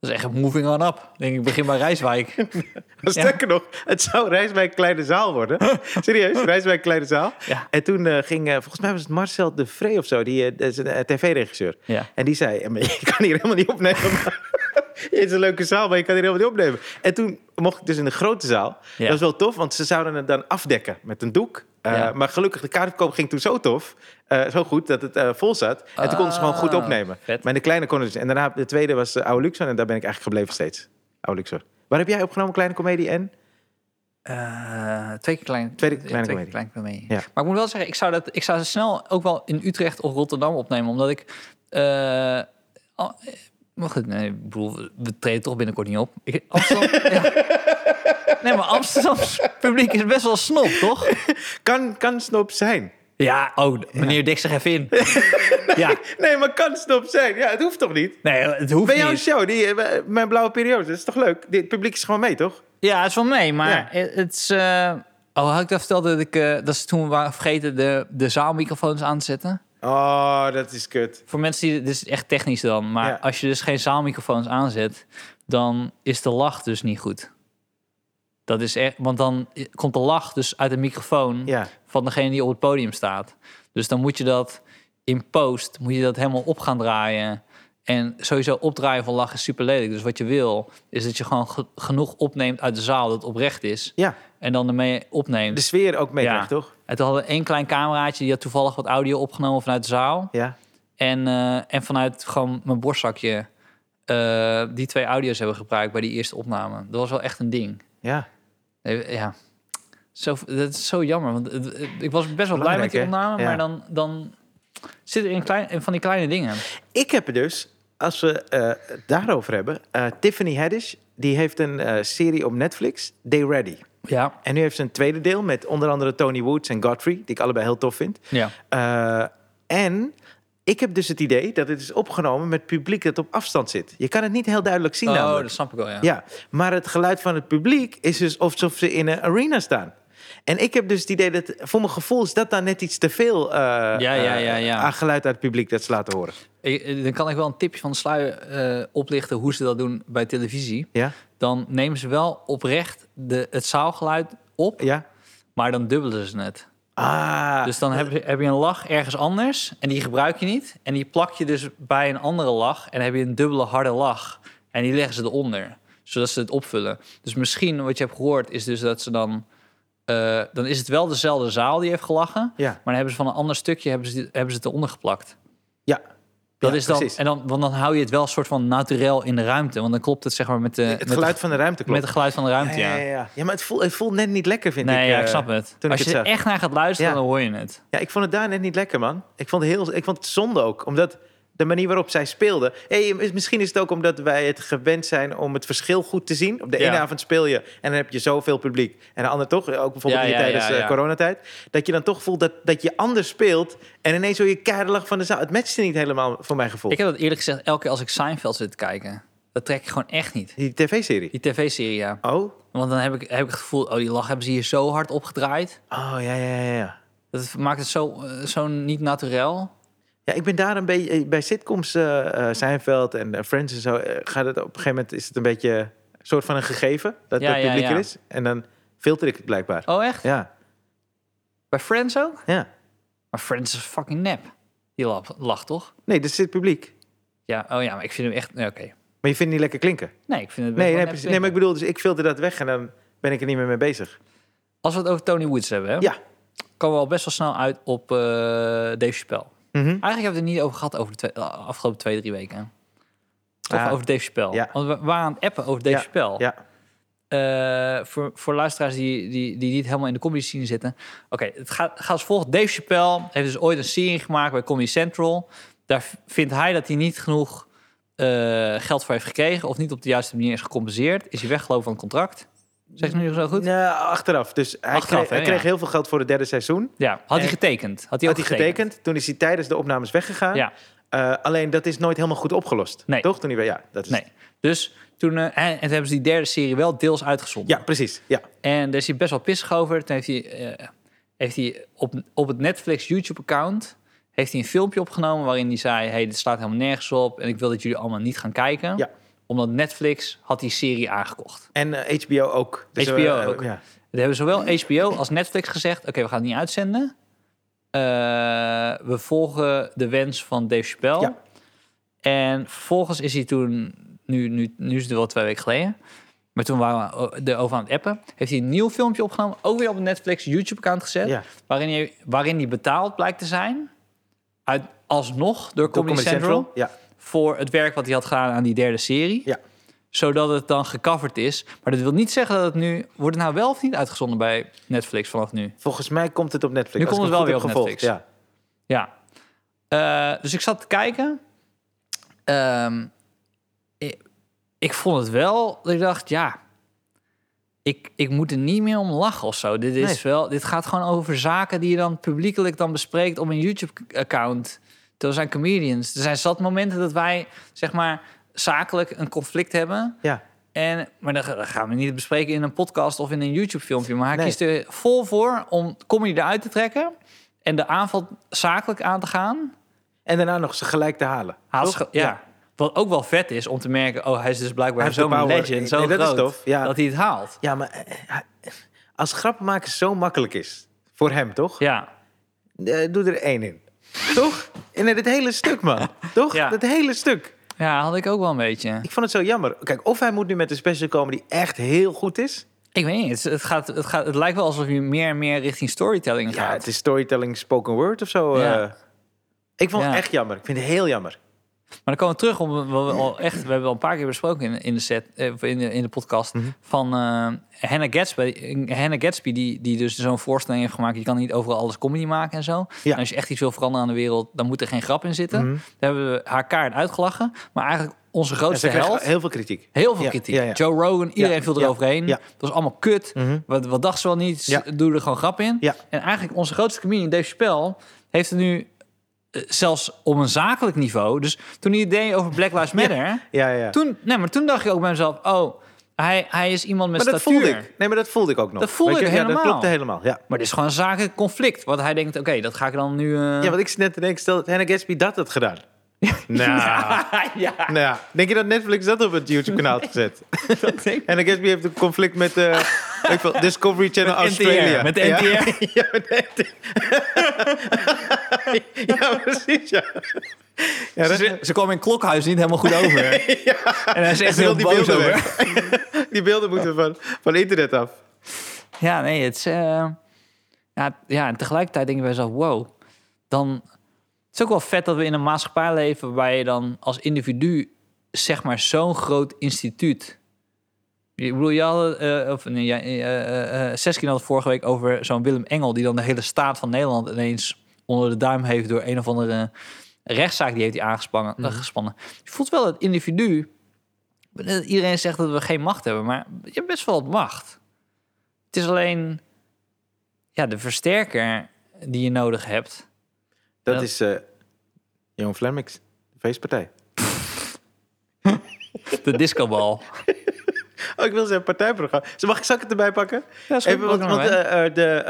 B: Dat is echt een moving on up. Denk ik begin bij Rijswijk.
A: Sterker nog, het zou Rijswijk Kleine Zaal worden. Serieus, Rijswijk Kleine Zaal.
B: Ja.
A: En toen eh, ging, eh, volgens mij was het Marcel de Vree of zo, die, eh, dat is een eh, tv-regisseur.
B: Ja.
A: En die zei, "Ja, maar je kan hier helemaal niet opnemen. maar- Het is een leuke zaal, maar je kan hier helemaal niet opnemen. En toen mocht ik dus in de grote zaal.
B: Ja.
A: Dat was wel tof, want ze zouden het dan afdekken met een doek. Eh,
B: Ja.
A: Maar gelukkig, de kaartkoop ging toen zo tof, eh, zo goed, dat het eh, vol zat. En toen konden ze gewoon goed
B: Ah,
A: opnemen.
B: vet.
A: Maar in de kleine konden ze dus- En daarna, de tweede was eh, Oude Luxor. En daar ben ik eigenlijk gebleven steeds. Oude Luxor. Waar heb jij opgenomen, Kleine Comedie en?
B: Eh, twee keer klein.
A: Tweede
B: eh,
A: kleine
B: twee
A: comedie.
B: keer klein comedie.
A: Ja.
B: Maar ik moet wel zeggen, ik zou, dat, ik zou ze snel ook wel in Utrecht of Rotterdam opnemen. Omdat ik... eh, al- eh, maar goed, nee, ik bedoel, we treden toch binnenkort niet op. Ik, Amsterdam, ja. Nee, maar Amsterdams publiek is best wel snop, toch?
A: Kan, kan snob zijn.
B: Ja, oh, meneer Dik zich even in. Ja,
A: Nee, maar kan snob zijn. Ja, het hoeft toch niet?
B: nee, het hoeft
A: Bij jouw
B: niet.
A: show, die, eh, mijn blauwe periode, dat is toch leuk? Dit publiek is gewoon mee, toch?
B: Ja, het is wel mee, maar
A: Ja.
B: het het is... eh, Oh, had ik dat verteld dat ik... eh, dat ze toen waren vergeten de, de zaalmicrofoons aan te zetten?
A: Oh, dat is kut.
B: Voor mensen die... Dit is echt technisch dan, maar
A: Ja.
B: als je dus geen zaalmicrofoons aanzet... dan is de lach dus niet goed. Dat is echt... Want dan komt de lach dus uit de microfoon...
A: Ja.
B: van degene die op het podium staat. Dus dan moet je dat in post, moet je dat helemaal op gaan draaien. En sowieso opdraaien van lachen is super lelijk. Dus wat je wil, is dat je gewoon ge- genoeg opneemt uit de zaal dat het oprecht is.
A: Ja,
B: En dan ermee opneemt.
A: de sfeer ook mee,
B: ja.
A: toch?
B: En toen hadden we één klein cameraatje, die had toevallig wat audio opgenomen vanuit de zaal.
A: Ja.
B: En, eh, en vanuit gewoon mijn borstzakje eh, die twee audio's hebben gebruikt bij die eerste opname. Dat was wel echt een ding.
A: Ja.
B: Nee, Ja, zo, dat is zo jammer. Want het- het- ik was best wel blij
A: Belangrijk,
B: met die
A: hè?
B: opname,
A: Ja.
B: maar dan, dan zit er in, klein, in van die kleine dingen.
A: Ik heb er dus, als we eh, het daarover hebben, eh, Tiffany Haddish, die heeft een eh, serie op Netflix, They Ready.
B: Ja,
A: En nu heeft ze een tweede deel met onder andere Tony Woods en Godfrey, die ik allebei heel tof vind.
B: ja.
A: Eh, en ik heb dus het idee dat het is opgenomen met publiek dat op afstand zit. Je kan het niet heel duidelijk zien
B: Oh,
A: namelijk.
B: dat snap ik wel, ja.
A: Ja, maar het geluid van het publiek is dus alsof ze in een arena staan. En ik heb dus het idee dat, voor mijn gevoel, is dat dan net iets te veel eh,
B: ja,
A: eh,
B: ja, ja.
A: aan geluid uit het publiek dat ze laten horen.
B: Ik- eh, dan kan ik wel een tipje van de sluier eh, oplichten hoe ze dat doen bij televisie.
A: Ja,
B: Dan nemen ze wel oprecht de, het zaalgeluid op,
A: ja.
B: maar dan dubbelen ze het.
A: Ah,
B: Dus dan heb je, heb je een lach ergens anders en die gebruik je niet. En die plak je dus bij een andere lach en dan heb je een dubbele harde lach. En die leggen ze eronder, zodat ze het opvullen. Dus misschien wat je hebt gehoord is dus dat ze dan... eh, dan is het wel dezelfde zaal die heeft gelachen.
A: Ja.
B: Maar dan hebben ze van een ander stukje hebben ze, die- hebben ze het eronder geplakt.
A: ja.
B: Dat
A: Ja,
B: is dan,
A: precies.
B: en dan, want dan hou je het wel een soort van naturel in de ruimte. Want dan klopt het zeg maar met, de,
A: het
B: met,
A: geluid
B: de,
A: van de ruimte klopt.
B: met het geluid van de ruimte.
A: ja,
B: Ja,
A: ja, ja. ja, maar het voelt, het voelt net niet lekker, vind ik.
B: Nee, ja,
A: eh,
B: ik snap het.
A: toen
B: Als
A: ik
B: je
A: het
B: er
A: zag.
B: echt naar gaat luisteren,
A: Ja.
B: dan hoor je het.
A: Ja, ik vond het daar net niet lekker, man. Ik vond, heel, ik vond het zonde ook, omdat de manier waarop zij speelde... Hey, is- misschien is het ook omdat wij het gewend zijn om het verschil goed te zien. Op de
B: Ja.
A: ene avond speel je en dan heb je zoveel publiek. En de andere toch, ook bijvoorbeeld
B: Ja,
A: hier
B: ja,
A: tijdens
B: ja,
A: eh,
B: ja.
A: coronatijd. Dat je dan toch voelt dat, dat je anders speelt en ineens hoor je keihard van de zaal. Het matchte niet helemaal, voor mijn gevoel.
B: Ik heb dat eerlijk gezegd elke keer als ik Seinfeld zit te kijken. Dat trek ik gewoon echt niet.
A: Die tv-serie.
B: Die tv-serie, ja.
A: Oh?
B: Want dan heb ik, heb ik het gevoel, oh, die lach hebben ze hier zo hard opgedraaid.
A: Oh, ja, ja, ja, ja.
B: Dat maakt het zo, eh, zo niet naturel.
A: Ja, ik ben daar een beetje... Bij sitcoms, eh eh, Seinfeld en eh, Friends en zo... eh, gaat het op een gegeven moment... is het een beetje een soort van een gegeven... dat
B: Ja,
A: het
B: ja,
A: publiek
B: ja.
A: er is. En dan filter ik het blijkbaar.
B: Oh, echt?
A: Ja,
B: Bij Friends ook?
A: ja.
B: Maar Friends is fucking nep. Die lap, lach, toch?
A: Nee, dit is het publiek.
B: Ja, oh ja, maar ik vind hem echt... Nee, oké.
A: Maar je vindt het niet lekker klinken.
B: Nee, ik vind het best
A: Nee, nee,
B: wel nep
A: precies. nee, maar ik
B: klinken.
A: bedoel... dus ik filter dat weg en dan ben ik er niet meer mee bezig.
B: Als we het over Tony Woods hebben, hè,
A: Ja.
B: komen we al best wel snel uit op eh, Dave Chappelle.
A: Mhm.
B: Eigenlijk hebben we het er niet over gehad over de twee- de afgelopen twee, drie weken. Toch
A: Ah,
B: over Dave Chappelle.
A: ja.
B: Want we waren aan het appen over Dave
A: Ja,
B: Chappelle.
A: Ja,
B: Eh, voor, voor luisteraars die, die, die niet helemaal in de comedy scene zitten. Oké, het gaat, gaat als volgt. Dave Chappelle heeft dus ooit een serie gemaakt bij Comedy Central. Daar v- vindt hij dat hij niet genoeg eh, geld voor heeft gekregen... of niet op de juiste manier is gecompenseerd. Is hij weggelopen van het contract? Zeg ik het nu zo goed?
A: Nou, achteraf. Dus hij
B: Achteraf,
A: kreeg,
B: hè,
A: hij kreeg
B: ja.
A: heel veel geld voor het derde seizoen.
B: Ja, had hij
A: En-
B: getekend. Had hij
A: Had
B: ook
A: hij
B: getekend.
A: getekend. Toen is hij tijdens de opnames weggegaan.
B: Ja.
A: Eh, alleen dat is nooit helemaal goed opgelost.
B: Nee.
A: Toch? Toen die, ja, dat is,
B: Nee. Dus toen, eh, en, en toen hebben ze die derde serie wel deels uitgezonden.
A: ja, precies. Ja.
B: En daar is hij best wel pissig over. Toen heeft hij, eh, heeft hij op, op het Netflix YouTube-account heeft hij een filmpje opgenomen waarin hij zei: hey, dit slaat helemaal nergens op en ik wil dat jullie allemaal niet gaan kijken.
A: Ja.
B: Omdat Netflix had die serie aangekocht.
A: En eh, HBO ook.
B: HBO
A: eh,
B: ook.
A: Ja.
B: Dat hebben zowel HBO als Netflix gezegd: oké, we gaan het niet uitzenden. Eh, we volgen de wens van Dave Chappelle.
A: Ja.
B: En vervolgens is hij toen, nu, nu, nu is het wel twee weken geleden. Maar toen waren we erover aan het appen. Heeft hij een nieuw filmpje opgenomen. Ook weer op het Netflix YouTube-account gezet.
A: Ja.
B: Waarin, hij, waarin hij betaald blijkt te zijn. Uit, alsnog door Comedy, Central,
A: Ja.
B: Voor het werk wat hij had gedaan aan die derde serie.
A: Ja.
B: Zodat het dan gecoverd is. Maar dat wil niet zeggen dat het nu. Wordt het nou wel of niet uitgezonden bij Netflix vanaf nu?
A: Volgens mij komt het op Netflix. als
B: Nu komt
A: ik
B: het wel
A: goed
B: weer
A: heb
B: op
A: gevolgd.
B: Netflix. Ja. Eh, dus ik zat te kijken. Ehm, ik, ik vond het wel dat ik dacht, ja, ik, ik moet er niet meer om lachen of zo. Dit, is
A: Nee.
B: wel, dit gaat gewoon over zaken die je dan publiekelijk dan bespreekt op een YouTube-account. Er zijn comedians. Er zijn zat momenten dat wij, zeg maar, zakelijk een conflict hebben.
A: Ja.
B: En, maar dat dat gaan we niet bespreken in een podcast of in een YouTube-filmpje. Maar hij
A: Nee.
B: kiest er vol voor om comedy eruit te trekken en de aanval zakelijk aan te gaan.
A: En daarna nog ze gelijk te halen.
B: Haal
A: Toch?
B: ja. Wat ook wel vet is om te merken, oh, hij is dus blijkbaar
A: Hij heeft
B: zo'n
A: de power.
B: legend, zo
A: Nee, dat is
B: groot,
A: tof, ja.
B: dat hij het haalt.
A: Ja, maar eh, eh, als grappenmaken zo makkelijk is, voor hem toch?
B: Ja,
A: Eh, doe er één in. toch? En het hele stuk, man. Toch?
B: Ja.
A: Dat hele stuk.
B: ja, had ik ook wel een beetje.
A: Ik vond het zo jammer. Kijk, of hij moet nu met een special komen die echt heel goed is.
B: Ik weet niet, het, het, gaat, het, gaat, het lijkt wel alsof je meer en meer richting storytelling
A: Ja,
B: gaat.
A: het is storytelling, spoken word of zo.
B: Ja.
A: eh. Ik vond
B: Ja. Oh,
A: het echt jammer. Ik vind het heel jammer.
B: Maar dan komen we terug om wat we al echt, we hebben al een paar keer besproken in, in de set, eh, of in de, in de podcast
A: Mhm.
B: van eh Hannah Gatsby, eh, Hannah Gatsby die, die dus zo'n voorstelling heeft gemaakt. Je kan niet overal alles comedy maken en zo.
A: Ja.
B: En als je echt iets wil veranderen aan de wereld, dan moet er geen grap in zitten. Daar hebben we haar kaart uitgelachen, maar eigenlijk onze
A: En ze
B: grootste
A: kreeg
B: held.
A: heel veel kritiek.
B: Heel veel
A: Ja,
B: kritiek.
A: ja, ja.
B: Joe Rogan, iedereen
A: Ja,
B: viel
A: ja,
B: eroverheen.
A: ja. Mhm.
B: Het was allemaal kut. wat, wat dacht ze wel niet?
A: Ja.
B: Doe er gewoon grap in.
A: Ja.
B: En eigenlijk onze grootste comedian, Dave Chappelle, heeft er nu eh, zelfs op een zakelijk niveau. Dus toen hij het deed over Black Lives Matter,
A: Ja, ja.
B: Toen, nee, maar toen dacht ik ook bij mezelf, oh, hij, hij is iemand met
A: maar dat
B: statuur.
A: voelde ik. Nee, maar dat voelde ik ook nog.
B: Dat voelde
A: Weet je,
B: ik
A: ja, dat
B: helemaal.
A: klopte helemaal. Ja.
B: Maar dit is gewoon een zakelijk conflict. Want hij denkt, oké, dat ga ik dan nu... eh,
A: Ja, want ik zit net te denken, stel dat Hannah Gatsby dat had gedaan. Nou,
B: ja,
A: nou ja. denk je dat Netflix dat op het YouTube-kanaal had gezet?
B: dat denk ik.
A: Hannah Gatsby heeft een conflict met eh, weet ik veel, Discovery Channel
B: Met NTR,
A: Australia.
B: met
A: Ja.
B: NTR.
A: Ja, met NTR. ja, precies, ja. ja dat-
B: Ze, ze kwam in Klokhuis niet helemaal goed over. En hij is echt
A: ze wil
B: heel
A: die
B: boos
A: beelden
B: over.
A: weg. die beelden moeten van, van internet af.
B: Ja, nee, het is... eh, ja, ja, en tegelijkertijd denk ik bij mezelf, wow. Dan, het is ook wel vet dat we in een maatschappij leven... waar je dan als individu, zeg maar, zo'n groot instituut... Ik bedoel, je had, het, eh, of, nee, jij, eh, eh, eh, Seskin had het vorige week over zo'n Willem Engel... die dan de hele staat van Nederland ineens onder de duim heeft... door een of andere rechtszaak die heeft hij aangespannen. eh, gespannen. Je voelt wel het individu... eh, Iedereen zegt dat we geen macht hebben, maar je hebt best wel wat macht. Het is alleen ja, de versterker die je nodig hebt.
A: Dat
B: Ja.
A: is eh Jon Flemmix, de feestpartij.
B: De discobal.
A: Oh, ik wil zijn partijprogramma. Zo, Mag ik, zal ik het erbij pakken?
B: Ja, is goed.
A: Even, want
B: Pak hem
A: want,
B: erbij.
A: eh, eh, de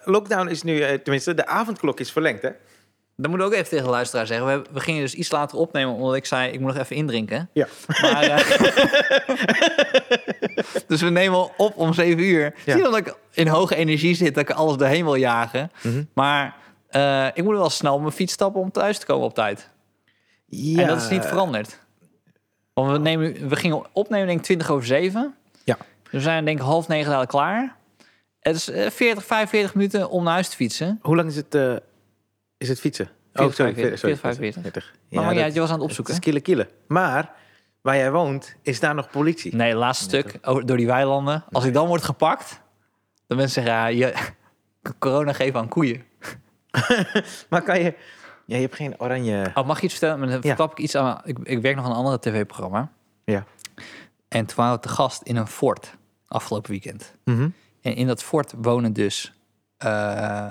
A: eh, lockdown is nu, eh, tenminste, de avondklok is verlengd, hè?
B: Dat moet ik ook even tegen de luisteraar zeggen. We, hebben- we gingen dus iets later opnemen omdat ik zei... ik moet nog even indrinken.
A: Ja.
B: Maar, eh, dus we nemen op om 7 uur.
A: Ja.
B: Zie je dat ik in hoge energie zit... dat ik alles doorheen wil jagen. Maar eh, ik moet wel snel op mijn fiets stappen... om thuis te komen op tijd.
A: Ja. eh,
B: En dat is niet veranderd. Want we, nemen, we gingen opnemen denk ik 20 over 7...
A: Ja.
B: We zijn denk ik half negen dadelijk klaar. Het is eh, 40, 45 minuten om naar huis te fietsen.
A: Hoe lang is het, eh, is het fietsen?
B: 40,
A: Oh, sorry,
B: 45.
A: 40.
B: Maar
A: Ja,
B: ja,
A: dat-
B: je was aan het
A: het
B: opzoeken.
A: is kille kille. Maar waar jij woont, is daar nog politie.
B: Nee, laatste stuk over- door die weilanden. Als ik dan word gepakt, dan mensen zeggen ja, je, corona geven aan koeien.
A: Maar kan je... Ja, je hebt geen oranje...
B: Oh, mag je iets vertellen? Maar Dan verklap ik iets aan. Ik, ik werk nog aan een andere tv-programma.
A: Ja.
B: En toen waren we te gast in een fort afgelopen weekend.
A: Mhm.
B: En in dat fort wonen dus, eh,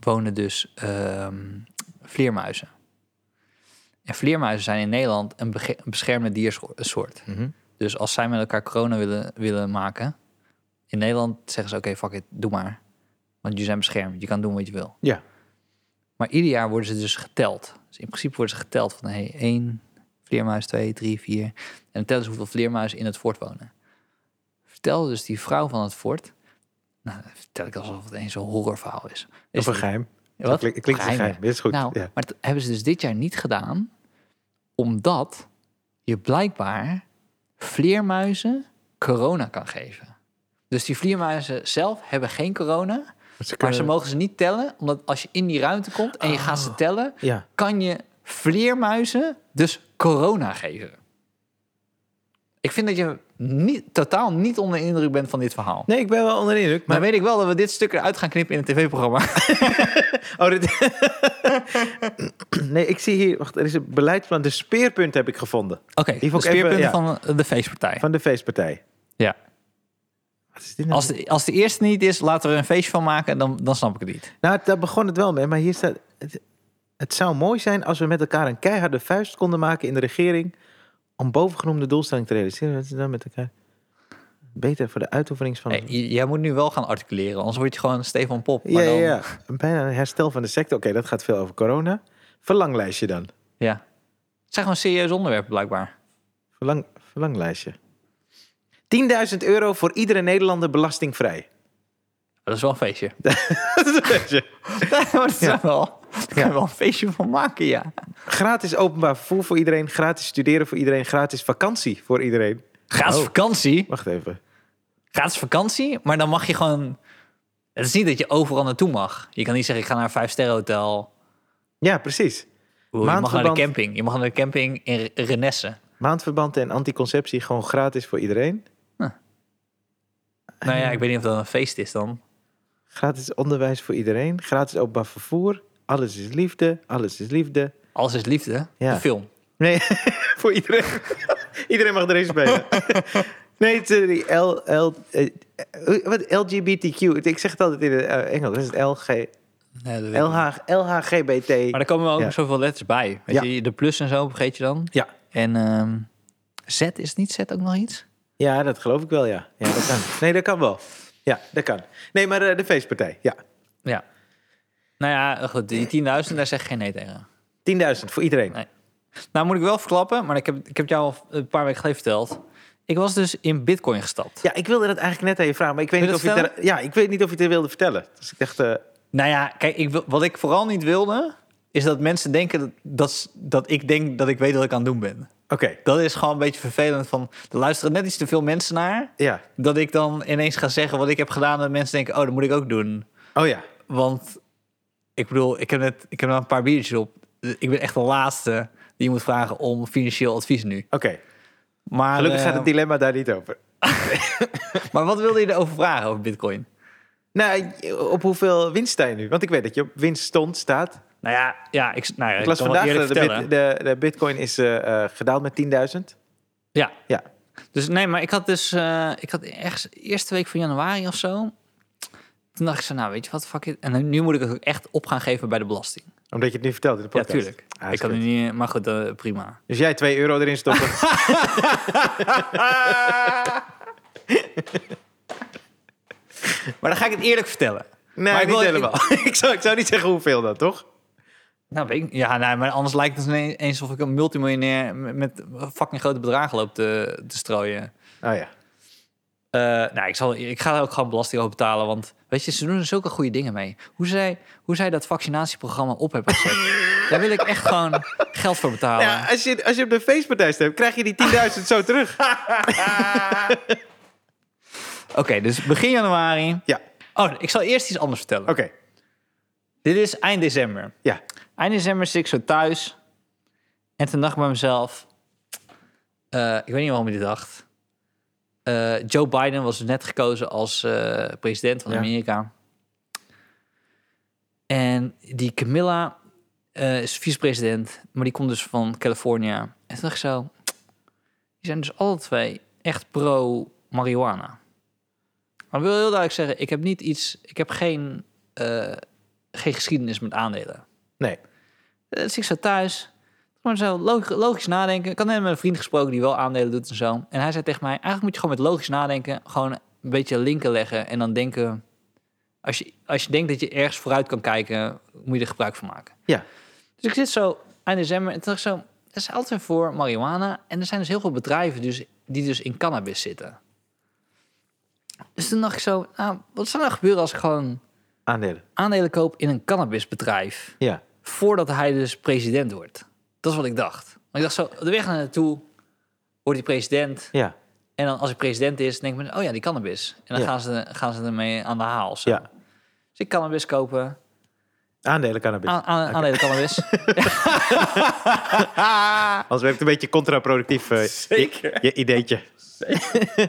B: wonen dus ehm, vleermuizen. En vleermuizen zijn in Nederland een, bege- een beschermde diersoort.
A: Mhm.
B: Dus als zij met elkaar corona willen, willen maken, in Nederland zeggen ze: oké, fuck it, doe maar. Want je zijn beschermd, je kan doen wat je wil.
A: Ja.
B: Maar ieder jaar worden ze dus geteld. Dus in principe worden ze geteld van hey, één vleermuis, twee, drie, vier. En dan tellen ze hoeveel vleermuizen in het fort wonen. Vertel dus die vrouw van het fort. Nou, dat vertel ik alsof het eens zo'n horrorverhaal is.
A: Of
B: Is
A: een
B: het-
A: geheim.
B: Wat?
A: Klink- Klinkt geheim.
B: Geheim,
A: geheim. Dit is goed.
B: nou,
A: ja.
B: maar dat hebben ze dus dit jaar niet gedaan, omdat je blijkbaar vleermuizen corona kan geven. Dus die vleermuizen zelf hebben geen corona,
A: Ze
B: maar
A: kunnen- Ah.
B: ze mogen ze niet tellen, omdat als je in die ruimte komt en je gaat ze tellen,
A: Ja.
B: kan je vleermuizen dus corona geven. Ik vind dat je niet, totaal niet onder de indruk bent van dit verhaal.
A: Nee, ik ben wel onder de indruk.
B: Maar
A: Maar...
B: weet ik wel dat we dit stuk eruit gaan knippen in het tv-programma.
A: Oh, dit... nee, ik zie hier... Wacht, er is een beleidsplan. De speerpunt heb ik gevonden.
B: Oké,
A: Die
B: de
A: vond ik even-
B: speerpunten
A: ja.
B: van de feestpartij.
A: Van de feestpartij.
B: Ja.
A: Wat is dit nou?
B: Als de, als de eerste niet is, laten we er een feestje van maken, dan, dan snap ik het niet.
A: Nou, daar begon het wel mee. Maar hier staat... Het, het zou mooi zijn als we met elkaar een keiharde vuist konden maken in de regering... om bovengenoemde doelstelling te realiseren. Wat is dan met elkaar? Beter voor de uitoefening van...
B: Hey, j- jij moet nu wel gaan articuleren, anders word je gewoon Stefan Pop.
A: ja,
B: maar
A: ja,
B: dan-
A: ja. Bijna een herstel van de sector. Oké, dat gaat veel over corona. Verlanglijstje dan.
B: ja. Het zijn gewoon serieuze onderwerpen, blijkbaar.
A: Verlang, verlanglijstje. 10.000 euro voor iedere Nederlander belastingvrij.
B: Dat is wel een feestje.
A: Dat is een beetje.
B: Ja, maar dat is wel, daar kan je wel een feestje van maken, ja.
A: gratis openbaar vervoer voor iedereen. Gratis studeren voor iedereen. Gratis vakantie voor iedereen.
B: Gratis
A: Oh.
B: vakantie.
A: Wacht even.
B: Gratis vakantie, maar dan mag je gewoon... Het is niet dat je overal naartoe mag. Je kan niet zeggen, ik ga naar een vijfsterren hotel.
A: Ja, precies.
B: Je mag naar de
A: Maandverband.
B: camping. Je mag naar de camping in Renesse.
A: Maandverband en anticonceptie gewoon gratis voor iedereen.
B: Nou ja, ik weet niet of dat een feest is dan.
A: Gratis onderwijs voor iedereen. Gratis openbaar vervoer. Alles is liefde. Alles is liefde.
B: Alles is liefde.
A: Ja.
B: De film.
A: Nee, voor iedereen. iedereen mag erin spelen. nee, sorry. L, L, eh, eh, wat, LGBTQ. Ik zeg het altijd in het eh, Engels. Dat is het LG,
B: Nee, dat weet ik niet.
A: LH, LHGBT.
B: Maar er komen ook
A: Ja.
B: zoveel letters bij. Weet
A: Ja.
B: je, de plus en zo vergeet je dan.
A: Ja.
B: En ehm, Z is het niet Z ook nog iets?
A: ja, dat geloof ik wel, ja. ja dat kan. Nee, dat kan wel. Ja, dat kan. Nee, maar eh, de feestpartij, ja.
B: Ja. Nou ja, goed, die 10.000, daar zeg ik geen nee tegen.
A: 10.000 voor iedereen.
B: Nee. Nou moet ik wel verklappen, maar ik heb, ik heb jou al een paar weken geleden verteld. Ik was dus in bitcoin gestapt.
A: Ja, ik wilde dat eigenlijk net aan je vragen, maar ik weet,
B: Wil
A: niet
B: je
A: of je
B: dat
A: het er- ja, ik weet niet of je het er wilde vertellen. Dus ik dacht, eh,
B: Nou ja, kijk, ik, wil- wat ik vooral niet wilde, is dat mensen denken dat, dat, s- dat ik denk dat ik weet wat ik aan het doen ben.
A: oké,
B: Dat is gewoon een beetje vervelend. Van, er luisteren net iets te veel mensen naar.
A: ja.
B: Dat ik dan ineens ga zeggen wat ik heb gedaan. Dat mensen denken, oh, dat moet ik ook doen.
A: Oh ja,
B: Want ik bedoel, ik heb net ik heb nog een paar biertjes op. Ik ben echt de laatste die je moet vragen om financieel advies nu.
A: oké.
B: Maar,
A: Gelukkig
B: eh,
A: gaat het dilemma daar niet over.
B: maar wat wilde je erover vragen over bitcoin?
A: Nou, op hoeveel winst sta je nu? Want ik weet dat je op winst stond, staat.
B: Nou ja, ja ik, nou ja,
A: Ik
B: ik
A: las
B: kan vandaag
A: vandaag
B: eerlijk
A: dat de,
B: vertellen.
A: bit, de, de bitcoin is eh, eh, gedaald met 10.000.
B: Ja,
A: Ja.
B: dus nee, maar ik had dus... eh, ik had ergens eerste week van januari of zo... Toen dacht ik zo, nou weet je wat, fuck it. En nu moet ik het ook echt op gaan geven bij de belasting.
A: Omdat je het nu vertelt in de
B: Ja,
A: podcast.
B: tuurlijk.
A: Ah, is
B: ik kan
A: goed.
B: het niet... Maar goed, eh, prima.
A: Dus jij 2 euro erin stoppen.
B: Maar dan ga ik het eerlijk vertellen.
A: nee,
B: Maar ik
A: niet
B: wil-
A: helemaal. ik, zou, ik zou niet zeggen hoeveel dan, toch?
B: Nou, weet ik, ja, nee, maar anders lijkt het ineens of ik een multimiljonair met, met fucking grote bedragen loop te, te strooien.
A: Oh ja.
B: Eh, nou, ik, zal, ik ga er ook gewoon belasting over betalen, want weet je, ze doen er zulke goede dingen mee. Hoe zij, hoe zij dat vaccinatieprogramma op hebben gezet, daar wil ik echt gewoon geld voor betalen.
A: ja als, je, als je op de feestpartij stemt, krijg je die 10.000 zo terug.
B: Oké, dus begin januari.
A: Ja,
B: Oh, ik zal eerst iets anders vertellen.
A: oké.
B: Dit is eind december.
A: Ja.
B: Eind december zit ik zo thuis. En toen dacht ik bij mezelf... eh, ik weet niet waarom ik dit dacht. Eh, Joe Biden was dus net gekozen als eh, president van
A: Ja.
B: Amerika. En die Camilla eh, is vicepresident. Maar die komt dus van California. En toen dacht ik zo... Die zijn dus alle twee echt pro-marihuana. Maar ik wil heel duidelijk zeggen... Ik heb niet iets... Ik heb geen, eh, geen geschiedenis met aandelen.
A: Nee.
B: Dat zit ik zo thuis. Maar zo logisch, logisch nadenken. Ik had net met een vriend gesproken die wel aandelen doet en zo. En hij zei tegen mij, eigenlijk moet je gewoon met logisch nadenken... gewoon een beetje linken leggen en dan denken... Als je, als je denkt dat je ergens vooruit kan kijken, moet je er gebruik van maken.
A: Ja.
B: Dus ik zit zo eind december en toen dacht ik zo... Er is altijd voor marihuana. En er zijn dus heel veel bedrijven dus, die dus in cannabis zitten. Dus toen dacht ik zo, nou, wat zou nou gebeuren als ik gewoon
A: Aandelen.
B: aandelen koop in een cannabisbedrijf.
A: Ja.
B: voordat hij dus president wordt. Dat is wat ik dacht. Want ik dacht zo, de weg naar naartoe wordt hij president.
A: Ja.
B: En dan als hij president is, denk ik me, oh ja, die cannabis. En dan
A: Ja.
B: gaan, ze, gaan ze ermee aan de haal. of zo.
A: Ja.
B: Dus ik cannabis kopen,
A: Aandelen cannabis.
B: aan, aan, aandelen cannabis.
A: Anders werd het een beetje contraproductief eh,
B: Zeker.
A: je, je ideetje.
B: Ik
A: Bij de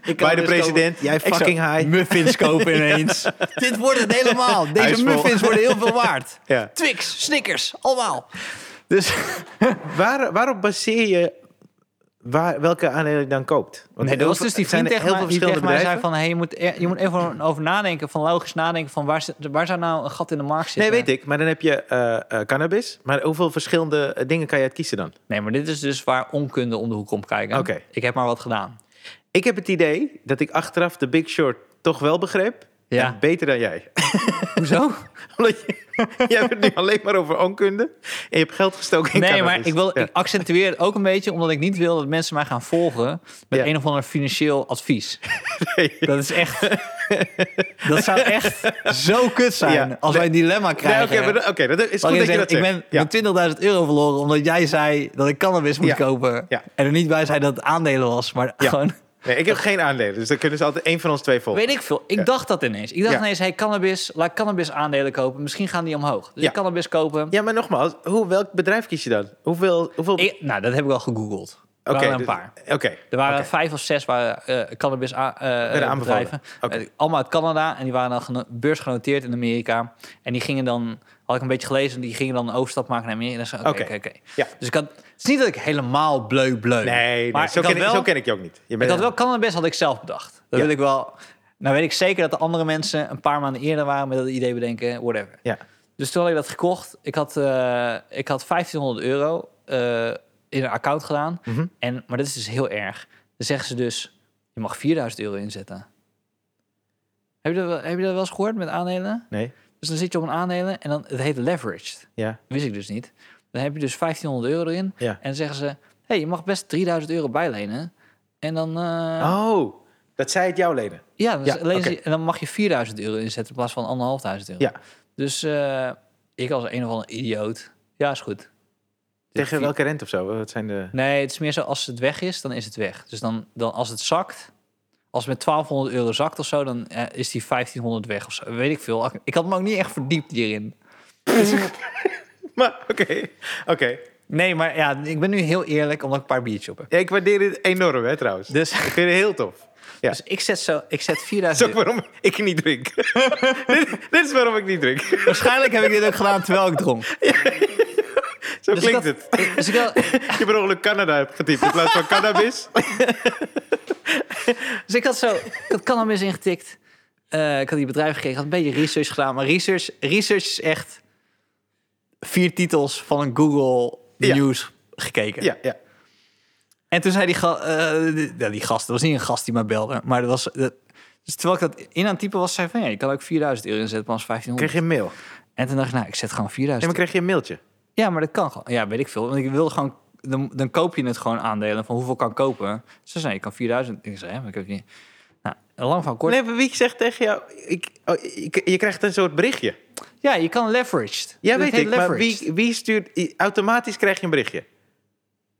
B: cannabis kopen.
A: president, jij
B: Ik zou
A: fucking high.
B: Muffins kopen ineens. Dit wordt het helemaal. Deze
A: Huisvol.
B: muffins worden heel veel waard.
A: Ja.
B: Twix, Snickers, allemaal. Dus
A: Waar, waarop baseer je waar, welke aandelen je dan koopt? Want
B: nee, dat
A: heel
B: was
A: veel-
B: dus die
A: zijn
B: vriend
A: er
B: tegen
A: heel
B: mij,
A: veel
B: die tegen
A: verschillende
B: mij zei
A: bedrijven?
B: van... Hey, je, moet, e- je moet even over nadenken, van logisch nadenken... van waar, zit- waar zou nou een gat in de markt
A: Nee,
B: zitten?
A: weet ik. Maar dan heb je eh, eh, cannabis. Maar hoeveel verschillende eh, dingen kan je uit kiezen dan?
B: Nee, maar dit is dus waar onkunde om de hoek komt kijken.
A: Oké.
B: Ik heb maar wat gedaan.
A: Ik heb het idee dat ik achteraf de Big Short toch wel begreep.
B: Ja.
A: En beter dan jij.
B: Hoezo?
A: Omdat je, jij hebt het nu alleen maar over onkunde. En je hebt geld gestoken in
B: nee,
A: cannabis.
B: maar ik, wil,
A: Ja.
B: ik accentueer het ook een beetje... omdat ik niet wil dat mensen mij gaan volgen... met
A: Ja.
B: een of ander financieel advies.
A: Nee.
B: Dat is echt... dat zou echt zo kut zijn
A: Ja.
B: als wij een dilemma
A: Nee,
B: krijgen.
A: Oké, maar dat- oké, dat is goed
B: Waarin
A: dat je
B: je
A: dat
B: zegt,
A: zegt.
B: ik ben met 20.000 euro verloren omdat jij zei dat ik cannabis moest
A: Ja.
B: kopen.
A: Ja.
B: En er niet bij zei dat het aandelen was, maar
A: Ja.
B: gewoon...
A: Nee, ik heb geen aandelen, dus dan kunnen ze altijd één van ons twee volgen.
B: Weet ik veel. Ik dacht dat ineens. Ik dacht
A: Ja.
B: ineens, hey, cannabis, laat ik cannabis aandelen kopen. Misschien gaan die omhoog. Dus
A: Ja.
B: ik cannabis kopen.
A: Ja, maar nogmaals, hoe, welk bedrijf kies je dan? Hoeveel? hoeveel...
B: Ik- nou, dat heb ik al gegoogeld. Er
A: Oké,
B: waren een
A: dus-
B: paar.
A: Oké.
B: Er waren
A: oké.
B: vijf of zes waren, eh cannabis a- eh,
A: aanbevolen.
B: bedrijven.
A: Oké.
B: Eh, allemaal uit Canada. En die waren dan geno- beursgenoteerd in Amerika. En die gingen dan, had ik een beetje gelezen, die gingen dan een overstap maken naar Amerika. En dan zei ik, oké,
A: Oké.
B: oké, oké.
A: Ja.
B: Dus ik had, het is niet dat ik helemaal bleu bleu.
A: Nee, nee zo,
B: ik had
A: ken ik, zo ken ik je ook niet. Je
B: Ik
A: bent-
B: had wel cannabis, had ik zelf bedacht.
A: Ja.
B: Dat wil ik wel. Nou weet ik zeker dat de andere mensen een paar maanden eerder waren met dat idee bedenken, whatever.
A: Ja.
B: Dus toen had ik dat gekocht. Ik had, eh, ik had 1500 euro eh, in een account gedaan.
A: Mhm.
B: En, maar dat is dus heel erg. Dan zeggen ze dus, je mag 4000 euro inzetten. Heb je dat wel, heb je dat wel eens gehoord met aandelen?
A: Nee,
B: Dus dan zit je op een aandelen en dan, het heet leveraged.
A: ja.
B: Dat wist ik dus niet. Dan heb je dus 1500 euro erin.
A: Ja.
B: En dan zeggen ze, hé, hey, je mag best 3000 euro bijlenen. En dan... eh,
A: Oh, dat zij het jou lenen.
B: ja, dus
A: Ja,
B: alleen
A: oké.
B: zie- en dan mag je 4000 euro inzetten in plaats van 1500 euro.
A: Ja.
B: Dus eh, ik als een of andere idioot. Ja, is goed. Dus
A: Tegen
B: vi-
A: welke rente of zo? Wat zijn de...
B: Nee, het is meer zo als het weg is, dan is het weg. Dus dan, dan als het zakt, als het met 1200 euro zakt of zo, dan eh, is die 1500 weg of zo. Weet ik veel. Ik had me ook niet echt verdiept hierin.
A: Maar oké, oké.
B: Nee, maar ja, ik ben nu heel eerlijk omdat ik een paar biertjes op heb.
A: Ja, ik waardeer dit enorm, hè, trouwens.
B: Dus-
A: Ik vind het heel tof. Ja.
B: Dus ik zet zo, ik zet
A: Dat
B: 4000
A: is ook waarom ik niet drink. dit, dit is waarom ik niet drink.
B: Waarschijnlijk heb ik dit ook gedaan terwijl ik dronk.
A: Zo
B: Dus
A: klinkt
B: ik
A: het.
B: had- Dus ik had,
A: Ik heb per ongeluk Canada hebt getypt in plaats van cannabis.
B: Dus ik had zo, ik had cannabis ingetikt. Eh, ik had die bedrijf gekregen, had een beetje research gedaan. Maar research, research is echt vier titels van een Google
A: Ja.
B: News gekeken.
A: Ja, ja.
B: En toen zei die, ga- eh, die, ja, die gast, dat was niet een gast die mij belde, maar dat was... dat- dus terwijl ik dat in aan het typen was, zei ik van ja, je kan ook 4000 euro inzetten, maar als 1500.
A: Kreeg je een mail?
B: En toen dacht ik, nou, ik zet gewoon
A: Nee,
B: 4000
A: maar kreeg je een mailtje?
B: ja, maar dat kan gewoon. Ja, weet ik veel. Want ik wilde gewoon... Dan, dan koop je het gewoon aandelen van hoeveel kan kopen. Ze zei, je kan 4000. Ik zei, hè, maar ik heb niet... Nou, lang van kort.
A: Nee, maar wie zegt tegen jou... Ik, oh, ik- je krijgt een soort berichtje.
B: Ja, je kan leveraged.
A: Ja,
B: Dat
A: weet
B: heet
A: ik. Maar
B: leveraged.
A: wie, wie stuurt... i- Automatisch krijg je een berichtje.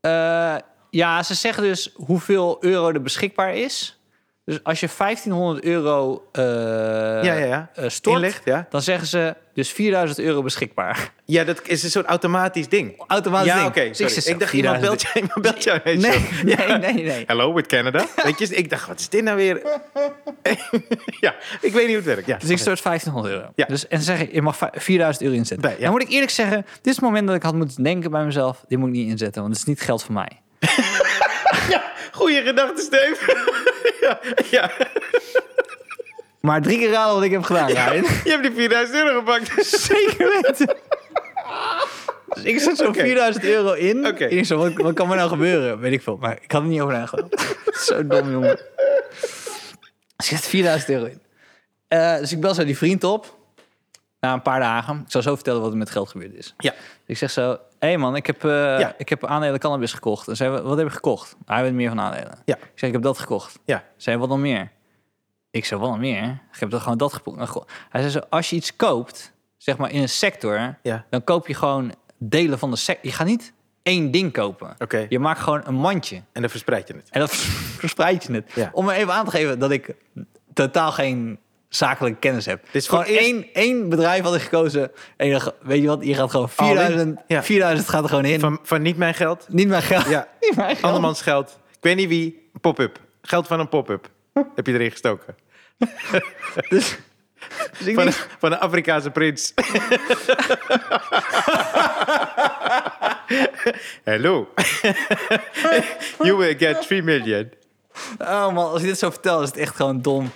B: Eh, ja, ze zeggen dus hoeveel euro er beschikbaar is. Dus als je 1500 euro eh
A: ja, ja.
B: eh, stort,
A: Inlegt, ja.
B: dan zeggen ze dus 4000 euro beschikbaar.
A: Ja, dat is een soort automatisch ding.
B: Automatisch
A: ja,
B: ding.
A: oké.
B: Dus
A: sorry.
B: zit
A: ik,
B: zo,
A: dacht, iemand
B: 4000
A: belt jou, iemand belt jou ineens zo.
B: Nee, nee, nee, nee.
A: Hello with Canada. Weet je, ik dacht, wat is dit nou weer? ja, ik weet niet hoe het werkt. Ja.
B: Dus ik stort 1500 euro.
A: Ja.
B: Dus, en ze zeggen, je mag vij- 4000 euro inzetten.
A: Nee, ja.
B: Dan moet ik eerlijk zeggen, dit is het moment dat ik had moeten denken bij mezelf. Dit moet ik niet inzetten, want het is niet geld voor mij.
A: ja, goeie gedachte, Steve. ja, ja.
B: Maar drie keer raden wat ik heb gedaan, Ryan.
A: Je hebt die 4000 euro gepakt.
B: Zeker weten. Dus ik zet zo'n
A: Oké.
B: 4000 euro in.
A: Oké.
B: En ik zo, wat, wat kan me nou gebeuren? Weet ik veel. Maar ik had er niet over nagedacht. zo dom, jongen. Dus ik zet 4000 euro in. Eh, dus ik bel zo die vriend op. Na een paar dagen. Ik zal zo vertellen wat er met geld gebeurd is.
A: Ja.
B: Ik zeg zo, hé man, ik heb, eh,
A: Ja.
B: ik heb aandelen cannabis gekocht. En zei, wat heb je gekocht? Nou, Hij weet meer van aandelen.
A: Ja.
B: Ik zeg, ik heb dat gekocht.
A: Ja.
B: Zei, wat dan meer? Ik zei, wat dan meer? Ik heb dat gewoon dat gekocht. Hij zei zo, als je iets koopt, zeg maar in een sector,
A: Ja.
B: dan koop je gewoon delen van de sector. Je gaat niet één ding kopen.
A: Oké.
B: Je maakt gewoon een mandje.
A: En dan verspreid je het.
B: En dat verspreid je het.
A: Ja.
B: Om me even aan te geven dat ik totaal geen zakelijke kennis heb.
A: is voor
B: gewoon
A: het eerst-
B: één, één bedrijf had ik gekozen. En je dacht, weet je wat, je gaat gewoon 4000,
A: Ja.
B: 4000 gaat er gewoon in.
A: Van, van niet mijn geld,
B: Niet mijn geld.
A: Ja.
B: Niet mijn geld.
A: andermans geld. Ik weet niet wie, pop-up. Geld van een pop-up. Heb je erin gestoken.
B: Dus, dus ik
A: Van,
B: denk,
A: van een Afrikaanse prins. Hello. you will get 3 million.
B: oh man, als je dit zo vertelt, is het echt gewoon dom.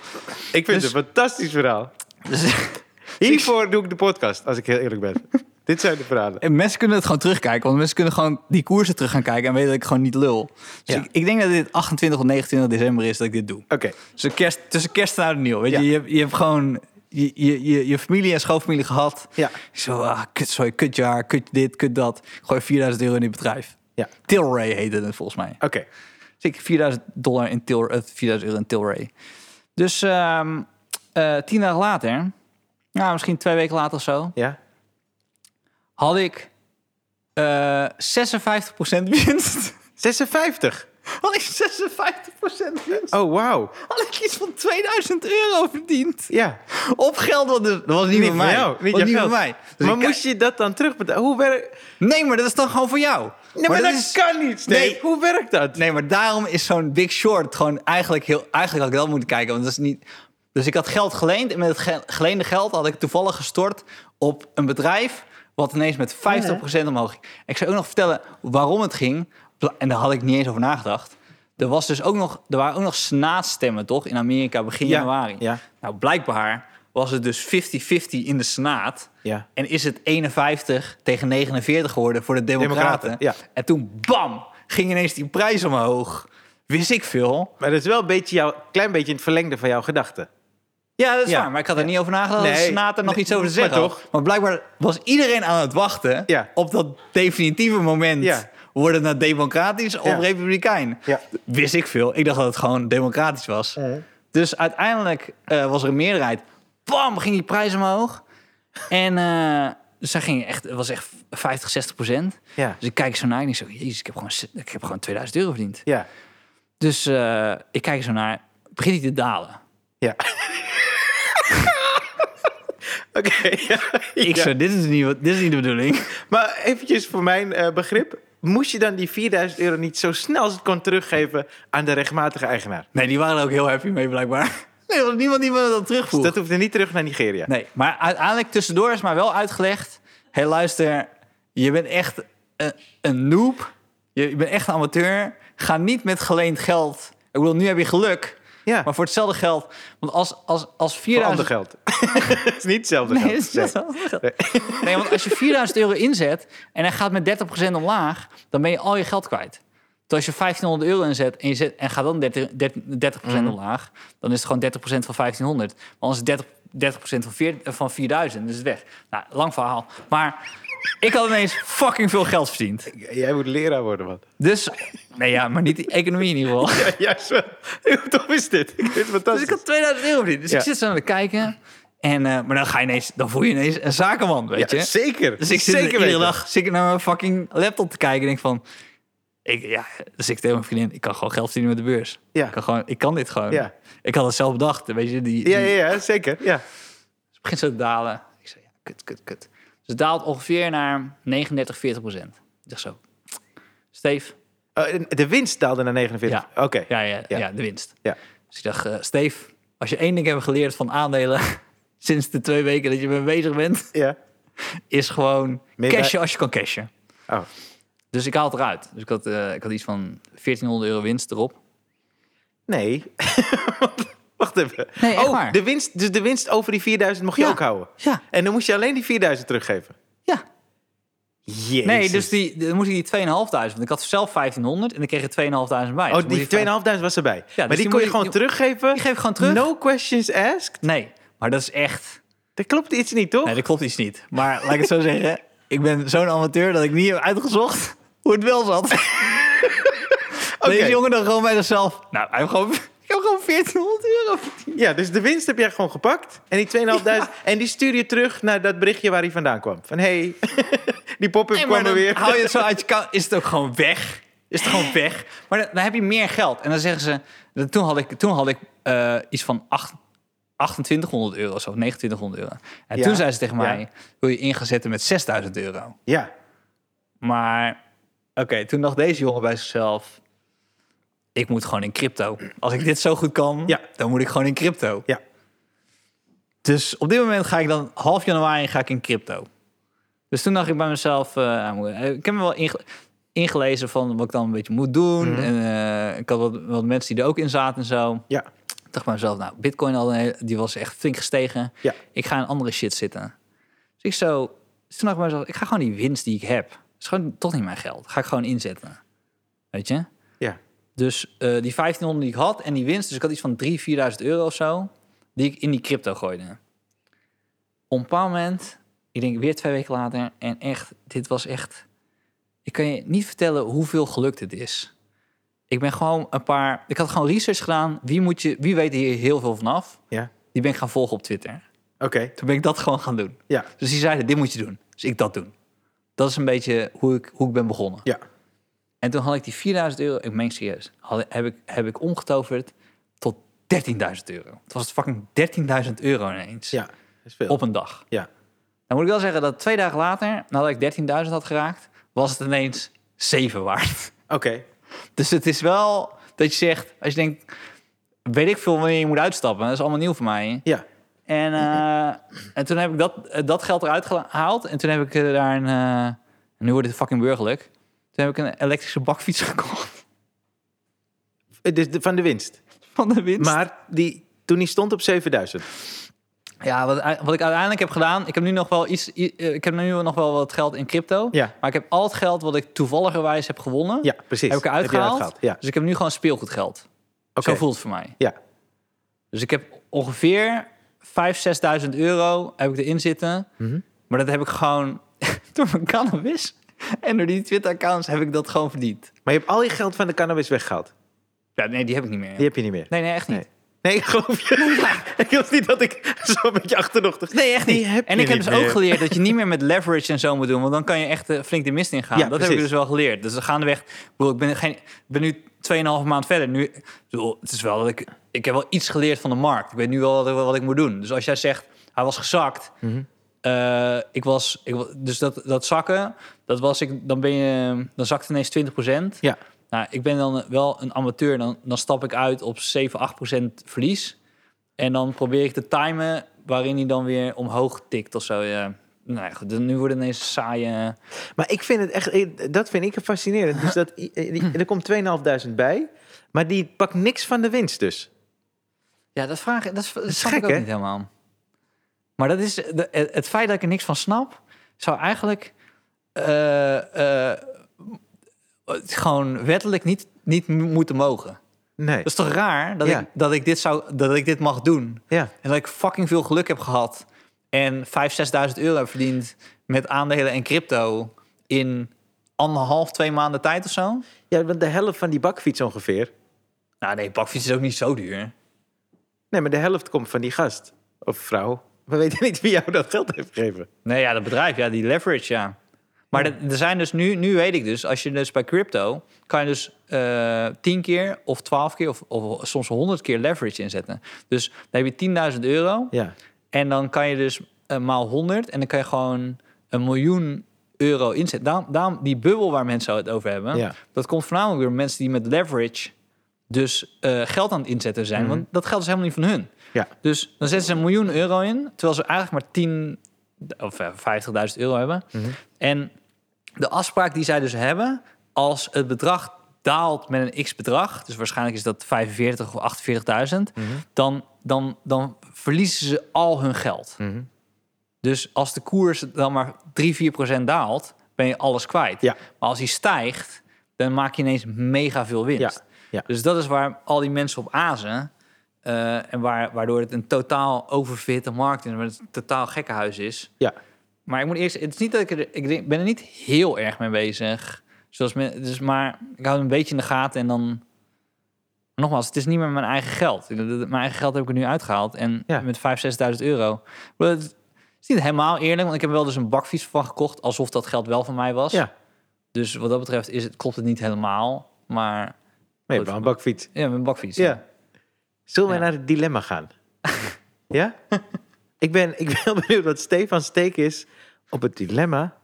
A: Ik vind het een fantastisch verhaal.
B: Dus,
A: Hiervoor doe ik de podcast, als ik heel eerlijk ben. Dit zijn de verhalen.
B: En mensen kunnen het gewoon terugkijken. Want mensen kunnen gewoon die koersen terug gaan kijken en weten dat ik gewoon niet lul. Dus
A: Ja.
B: ik, ik denk dat dit 28 of 29 december is dat ik dit doe.
A: Oké,
B: Dus kerst, tussen kerst en oud en nieuw. Weet
A: Ja.
B: je, je, hebt- je hebt gewoon je, je, je, je familie en schoonfamilie gehad.
A: Ja.
B: Zo, ah, kut, sorry, kutjaar, kut dit, kut dat. Ik gooi 4000 euro in dit bedrijf.
A: Ja.
B: Tilray heette het volgens mij.
A: oké.
B: Dus ik 4000 dollar in Tilray, 4000 euro in Tilray. Dus ehm, eh, tien dagen later, nou, misschien twee weken later of zo,
A: Ja.
B: had ik eh 56% winst.
A: 56.
B: Had ik 56% winst.
A: Oh, wauw.
B: Had ik iets van 2000 euro verdiend.
A: Ja.
B: Op geld, want dat was niet,
A: Niet
B: van
A: van
B: mij.
A: jou, niet
B: was
A: jouw
B: niet van
A: geld.
B: mij. Dus
A: maar
B: ik-
A: moest je dat dan terugbetalen? Hoe werkt...
B: Nee, maar dat is dan gewoon voor jou.
A: Nee, maar, dat,
B: is-
A: kan niet, Steve.
B: Nee.
A: Hoe werkt dat?
B: Nee, maar daarom is zo'n Big Short gewoon eigenlijk heel... Eigenlijk had ik dat moeten kijken, want dat is niet... Dus ik had geld geleend en met het ge- geleende geld had ik toevallig gestort op een bedrijf... wat ineens
A: Oh
B: met 50% omhoog ging. En ik zou ook nog vertellen waarom het ging. Bla- En daar had ik niet eens over nagedacht. Er, was dus ook nog, er waren ook nog senaatstemmen, toch? In Amerika begin
A: Ja,
B: januari.
A: ja.
B: Nou, blijkbaar was het dus 50-50 in de senaat...
A: Ja.
B: En is het 51 tegen 49 geworden voor de Democraten.
A: Democraten, ja.
B: En toen, bam, ging ineens die prijs omhoog. Wist ik veel.
A: Maar dat is wel een beetje jouw, klein beetje in het verlengde van jouw gedachten.
B: Ja, dat is
A: Ja.
B: waar. Maar ik had er niet over nagedacht dat de
A: Nee.
B: senator nog
A: Nee,
B: iets over te
A: maar
B: zeggen had.
A: toch?
B: Maar blijkbaar was iedereen aan het wachten
A: Ja.
B: op dat definitieve moment.
A: Ja.
B: Wordt het nou democratisch of
A: Ja.
B: republikein?
A: Ja. Mhm.
B: Wist ik veel. Ik dacht dat het gewoon democratisch was. Dus uiteindelijk eh, was er een meerderheid. Bam, ging die prijs omhoog. En eh dus dat ging echt, het was echt 50, 60 procent.
A: Ja.
B: Dus ik kijk zo naar en ik zo, jezus, ik heb gewoon, ik heb gewoon 2000 euro verdiend.
A: Ja.
B: Dus eh, ik kijk zo naar, begint hij te dalen.
A: Ja. Oké. ja.
B: Ik
A: Ja.
B: zo, dit is, niet, wat- dit is niet de bedoeling.
A: Maar eventjes voor mijn eh, begrip. Moest je dan die 4000 euro niet zo snel als het kon teruggeven aan de rechtmatige eigenaar?
B: Nee, die waren er ook heel happy mee blijkbaar. Nee, er was niemand die me dat terugvoer.
A: Dus dat hoefde niet terug naar Nigeria.
B: Nee, maar uiteindelijk tussendoor is mij wel uitgelegd... hé, hey, luister, je bent echt een, een noob. Je, je bent echt een amateur. Ga niet met geleend geld. Ik bedoel, nu heb je geluk.
A: Ja,
B: Maar voor hetzelfde geld... Want als, als, als
A: voor ander
B: 4000...
A: geld. Het is niet hetzelfde
B: Nee,
A: geld.
B: dat is niet hetzelfde geld. Nee, want als je 4000 euro inzet en hij gaat met 30% omlaag, dan ben je al je geld kwijt. Dus als je 1500 euro inzet en, je zet, en gaat dan 30, 30
A: Mhm.
B: omlaag, dan is het gewoon 30% van 1500. Maar anders is 30, 30% van, vier- eh, van 4000, dus het weg. Nou, lang verhaal. Maar ik had ineens fucking veel geld verdiend.
A: Nee. Jij moet leraar worden, man.
B: Dus, nee ja, maar niet die economie in ieder geval.
A: Ja, juist wel. Hoe tof is dit? Ik vind het
B: Dus
A: fantastisch.
B: ik had 2000 euro verdiend. Dus
A: Ja.
B: ik zit zo aan het kijken. En, eh, maar dan ga je ineens, dan voel je ineens een zakenman, weet
A: ja,
B: je.
A: zeker.
B: Dus ik zit
A: zeker
B: iedere
A: weten.
B: dag zit ik naar mijn fucking laptop te kijken en denk van... Ik, ja, dus ik tegen mijn vriendin, ik kan gewoon geld verdienen met de beurs.
A: Ja.
B: Ik, kan gewoon, ik kan dit gewoon.
A: Ja.
B: Ik had het zelf bedacht, weet je. Die, die,
A: Ja, ja, ja, zeker. Ja.
B: Het begint zo te dalen. Ik zei, ja, kut, kut, kut. Dus het daalt ongeveer naar 39, 40 procent. Ik zeg zo, Steef,
A: Oh, en de winst daalde naar 49.
B: Ja.
A: Oké.
B: ja, ja, ja.
A: Ja.
B: de winst.
A: Ja.
B: Dus ik dacht, eh Steef, als je één ding hebt geleerd van aandelen... sinds de twee weken dat je mee bezig bent...
A: Ja.
B: is gewoon
A: Meer bij-
B: cashen als je kan cashen.
A: Oh.
B: Dus ik haal het eruit. Dus ik had, eh, ik had iets van 1400 euro winst erop.
A: Nee. Wacht even.
B: Nee, echt
A: oh,
B: waar.
A: De winst, dus de winst over die 4000 mocht je
B: Ja.
A: ook houden.
B: Ja.
A: En dan moest je alleen die 4000 teruggeven.
B: Ja.
A: Jezus.
B: Nee, dus die, dan moest ik die 2.500. Want ik had zelf 1500 en dan kreeg er 2.500 bij. Dus
A: Oh,
B: moet je
A: die 2.500 was erbij. maar
B: dus
A: die,
B: die
A: kon je
B: moet-
A: gewoon
B: die-
A: teruggeven.
B: Die geef ik gewoon terug.
A: No questions asked.
B: Nee, maar dat is echt...
A: Dat klopt iets niet, toch?
B: Nee, dat klopt iets niet. Maar laat ik het zo zeggen. Ik ben zo'n amateur dat ik niet heb uitgezocht hoe het wel zat.
A: Oké.
B: Deze jongen dan gewoon bij zichzelf. Nou, hij heeft gewoon, ik heb gewoon 1400 euro verdiend.
A: Ja, dus de winst heb jij gewoon gepakt. En die 2.500. En die stuur je terug naar dat berichtje waar hij vandaan kwam. Van hey, die pop-up
B: Nee,
A: kwam
B: maar
A: er
B: dan
A: weer.
B: hou je het zo uit je kou. Is het ook gewoon weg? Is het gewoon weg? Maar dan, dan heb je meer geld. En dan zeggen ze... dan- Toen had ik, toen had ik eh, iets van acht- 2800 euro of zo, 2900 euro. En
A: Ja,
B: toen zei ze tegen
A: ja.
B: mij... Wil je ingezetten met 6000 euro?
A: Ja,
B: Maar oké, toen dacht deze jongen bij zichzelf... Ik moet gewoon in crypto. Als ik dit zo goed kan,
A: Ja.
B: dan moet ik gewoon in crypto.
A: ja.
B: Dus op dit moment ga ik dan half januari ga ik in crypto. Dus toen dacht ik bij mezelf, eh, nou, moet- eh, ik heb me wel inge- ingelezen van wat ik dan een beetje moet doen. En, eh, ik had wat, wat mensen die er ook in zaten en zo.
A: Ja.
B: Ik dacht bij mezelf, nou, bitcoin al een hele- die was echt flink gestegen.
A: Ja.
B: Ik ga in andere shit zitten. Dus ik zo, dus toen dacht ik bij mezelf, ik ga gewoon die winst die ik heb. Dat is gewoon toch niet mijn geld. Ga ik gewoon inzetten. Weet je?
A: Ja.
B: Dus eh, die 1500 die ik had en die winst, dus ik had iets van 3.000, 4.000 euro of zo, die ik in die crypto gooide. Op een bepaald moment, ik denk weer twee weken later, en echt, dit was echt. Ik kan je niet vertellen hoeveel geluk dit is. Ik ben gewoon een paar. Ik had gewoon research gedaan. Wie, moet je, wie weet hier heel veel vanaf?
A: Ja.
B: Die ben ik gaan volgen op Twitter.
A: Oké.
B: Toen ben ik dat gewoon gaan doen.
A: Ja.
B: Dus die zeiden: dit moet je doen. Dus ik dat doen. Dat is een beetje hoe ik, hoe ik ben begonnen.
A: Ja.
B: En toen had ik die 4000 euro, ik meen serieus, had, heb, ik, heb ik omgetoverd tot 13.000 euro. Het was fucking 13.000 euro ineens.
A: Ja. Dat is veel.
B: Op een dag.
A: Ja.
B: Dan moet ik wel zeggen dat twee dagen later, nadat ik 13.000 had geraakt, was het ineens 7 waard.
A: Oké.
B: Dus het is wel dat je zegt, als je denkt, weet ik veel wanneer je moet uitstappen. Dat is allemaal nieuw voor mij.
A: Ja.
B: En, eh, en toen heb ik dat, eh, dat geld eruit gehaald. En toen heb ik eh, daar een... eh, nu wordt het fucking burgerlijk. Toen heb ik een elektrische bakfiets gekocht
A: Eh, Dus de- van de winst.
B: van de winst.
A: Maar die, toen die stond op 7000.
B: Ja, wat, wat ik uiteindelijk heb gedaan, ik heb nu nog wel iets, i- eh, ik heb nu nog wel wat geld in crypto,
A: Ja.
B: maar ik heb al het geld wat ik toevalligerwijs heb gewonnen,
A: Ja, precies.
B: heb ik eruit
A: Heb je
B: gehaald.
A: Ja.
B: Dus ik heb nu gewoon speelgoedgeld.
A: Oké.
B: Zo voelt het voor mij.
A: Ja.
B: Dus ik heb ongeveer 5.000, 6.000 euro heb ik erin zitten,
A: Mhm.
B: maar dat heb ik gewoon door mijn cannabis en door die Twitter-accounts heb ik dat gewoon verdiend.
A: Maar je hebt al je geld van de cannabis weggehaald.
B: Ja, nee, die heb ik niet meer.
A: Die heb je niet meer.
B: Nee, nee, echt niet.
A: Nee. Nee, ik geloof je. ik was niet dat ik zo'n beetje achterdochtig...
B: Nee, echt niet.
A: Die heb
B: en
A: je
B: ik heb
A: niet
B: dus ook
A: meer.
B: geleerd dat je niet meer met leverage en zo moet doen. Want dan kan je echt eh, flink de mist ingaan.
A: Ja,
B: dat heb ik
A: precies.
B: dus wel geleerd. Dus gaandeweg... Bro, ik ben, geen, ik ben nu 2,5 maand verder. Nu, ik bedoel, het is wel dat ik... Ik heb wel iets geleerd van de markt. Ik weet nu wel wat, wat ik moet doen. Dus als jij zegt, hij was gezakt. eh, ik was, ik, wa- dus dat, dat zakken, dat was ik, dan, ben je, dan zakt het ineens 20%.
A: Ja.
B: Nou, ik ben dan wel een amateur. Dan, dan stap ik uit op 7, 8% verlies. En dan probeer ik te timen waarin hij dan weer omhoog tikt of zo. Ja. Nou ja, goed, nu worden ineens saaie...
A: Maar ik vind het echt, ik- dat vind ik fascinerend. Dus dat, i- i- i- er komt 2.500 bij, maar die pakt niks van de winst dus.
B: Ja, dat vraag dat, is- dat snap
A: gek,
B: ik ook
A: hè?
B: niet helemaal. Maar dat is, de- het het feit dat ik er niks van snap, zou eigenlijk eh, eh, het gewoon wettelijk niet, niet mo- moeten mogen.
A: Nee.
B: Dat is toch raar dat,
A: Ja.
B: ik, dat, ik, dit zou, dat ik dit mag doen?
A: Ja,
B: En dat ik fucking veel geluk heb gehad. En 5.000, 6.000 euro heb verdiend met aandelen en crypto in anderhalf, twee maanden tijd of zo.
A: ja, want de helft van die bakfiets ongeveer.
B: Nou nee, bakfiets is ook niet zo duur.
A: Nee, maar de helft komt van die gast of vrouw. We weten niet wie jou dat geld heeft gegeven.
B: Nee, ja, dat bedrijf, ja, die leverage, ja. Maar dat- er zijn dus nu, nu weet ik dus, als je dus bij crypto, kan je dus eh 10 keer of 12 keer of, of soms 100 keer leverage inzetten. Dus dan heb je 10.000 euro
A: Ja,
B: en dan kan je dus eh, maal 100 en dan kan je gewoon een miljoen euro inzetten. Daarom, daarom die bubbel waar mensen het over hebben,
A: Ja.
B: dat komt voornamelijk door mensen die met leverage dus eh, geld aan het inzetten zijn. Want dat geld is helemaal niet van hun.
A: ja,
B: Dus dan zetten ze een miljoen euro in, terwijl ze eigenlijk maar 10 of eh, 50.000 euro hebben. En de afspraak die zij dus hebben, als het bedrag daalt met een x bedrag, dus waarschijnlijk is dat 45 of 48.000, dan, dan, dan verliezen ze al hun geld. Dus als de koers dan maar 3, 4 daalt, ben je alles kwijt.
A: Ja.
B: Maar als die stijgt, dan maak je ineens mega veel winst.
A: Ja, ja.
B: Dus dat is waar al die mensen op azen. eh, en waar, waardoor het een totaal oververhitte markt is. waar Het een totaal gekkenhuis is.
A: Ja.
B: Maar ik moet eerst... Het is niet dat ik er... Ik denk- ben er niet heel erg mee bezig. Zoals men, dus, maar ik hou het een beetje in de gaten en dan... Nogmaals, het is niet meer mijn eigen geld. Ik- dat- Mijn eigen geld heb ik er nu uitgehaald. En
A: Ja.
B: met 5.000, 6.000 euro. Ik bedoel, Het is niet helemaal eerlijk, want ik heb er wel dus een bakfiets van gekocht. Alsof dat geld wel van mij was.
A: Ja,
B: Dus wat dat betreft is het, klopt het niet helemaal. Maar
A: maar je hebt wel een bakfiets.
B: ja, mijn bakfiets.
A: Ja. Zullen wij
B: Ja.
A: naar het dilemma gaan? ja? Ik ben, ik ben heel benieuwd wat Stefan's steek is op het dilemma.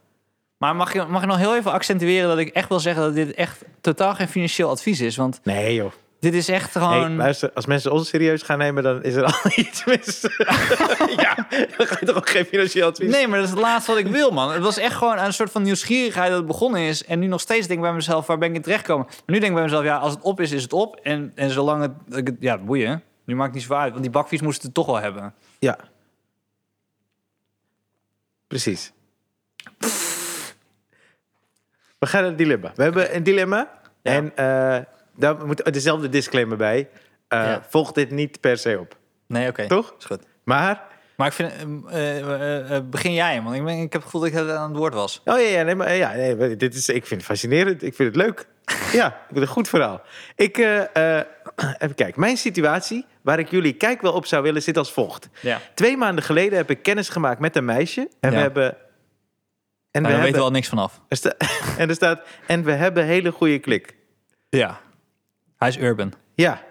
B: Maar mag je, mag je nog heel even accentueren dat ik echt wil zeggen dat dit echt totaal geen financieel advies is? Want
A: Nee, joh.
B: dit is echt
A: Hey,
B: gewoon.
A: luister, als mensen ons serieus gaan nemen, dan is er al iets mis. ja, dan ga je toch ook geen financieel advies.
B: nee, maar dat is het laatste wat ik wil, man. Het was echt gewoon een soort van nieuwsgierigheid dat het begonnen is. En nu nog steeds denk ik bij mezelf, waar ben ik in terechtgekomen? Maar nu denk ik bij mezelf, ja, als het op is, is het op. En, en zolang het, ik het- Ja, boeien. Nu maakt het niet zo uit, want die bakfiets moest het toch wel hebben.
A: Ja. Precies. We gaan naar het dilemma. We hebben een dilemma.
B: Ja.
A: En eh, daar moet dezelfde disclaimer bij. Eh,
B: Ja.
A: Volg dit niet per se op.
B: Nee, oké.
A: Toch?
B: Is goed.
A: Maar
B: Maar ik vind, eh, eh, eh, begin jij, man. Ik, ben, ik heb het gevoel dat ik aan het woord was.
A: Oh ja, ja, nee, maar, ja nee, maar dit is, ik vind het fascinerend. Ik vind het leuk. Ja, ik vind het een goed verhaal. Ik, eh, eh, even kijken. Mijn situatie, waar ik jullie kijk wel op zou willen, zit als volgt.
B: Ja.
A: Twee maanden geleden heb ik kennis gemaakt met een meisje. En we
B: Ja.
A: hebben... En,
B: Daar
A: we
B: weten
A: hebben,
B: we al niks vanaf.
A: er sta- en er staat... En we hebben hele goede klik.
B: Ja. Hij is urban.
A: Ja,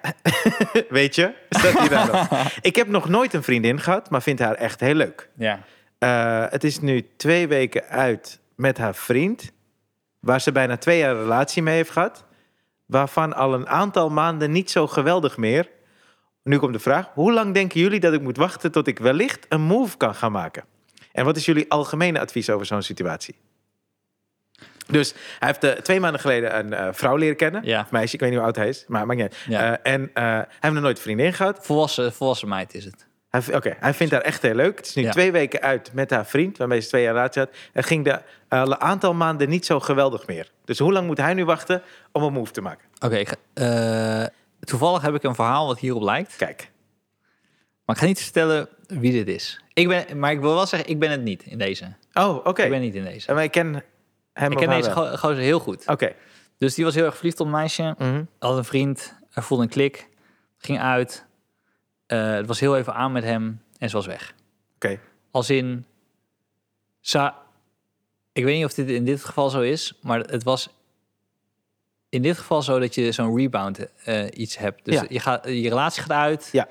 A: weet je? Staat hier dan nog. ik heb nog nooit een vriendin gehad, maar vind haar echt heel leuk.
B: Ja.
A: Eh, het is nu twee weken uit met haar vriend, waar ze bijna twee jaar een relatie mee heeft gehad, waarvan al een aantal maanden niet zo geweldig meer. Nu komt de vraag: hoe lang denken jullie dat ik moet wachten tot ik wellicht een move kan gaan maken? En wat is jullie algemene advies over zo'n situatie? Dus hij heeft eh, twee maanden geleden een eh, vrouw leren kennen.
B: Ja.
A: Of meisje, ik weet niet hoe oud hij is, maar maakt niet uit.
B: Ja.
A: Eh, en eh, hij heeft nog nooit een vriendin gehad.
B: Volwassen, volwassen meid is het.
A: Hij, v- oké, hij vindt haar echt heel leuk. Het is nu
B: Ja.
A: twee weken uit met haar vriend, waarmee ze twee jaar relatie had. En ging de eh, aantal maanden niet zo geweldig meer. Dus hoe lang moet hij nu wachten om een move te maken?
B: Oké, ik ga- eh, toevallig heb ik een verhaal wat hierop lijkt.
A: Kijk,
B: Maar ik ga niet vertellen wie dit is. Ik ben, maar ik wil wel zeggen, ik ben het niet in deze.
A: oh, oké.
B: Ik ben niet in deze.
A: En wij kennen hem
B: Ik
A: of
B: ken
A: haar
B: deze
A: wel.
B: go- gozer heel goed.
A: Oké,
B: Dus die was heel erg verliefd op een meisje.
A: mhm,
B: Had een vriend, hij voelde een klik. Ging uit. Eh, het was heel even aan met hem en ze was weg.
A: oké.
B: Als in. Ze, ik weet niet of dit in dit geval zo is, maar het was in dit geval zo dat je zo'n rebound eh, iets hebt. Dus
A: Ja.
B: je, gaat, je relatie gaat uit.
A: Ja.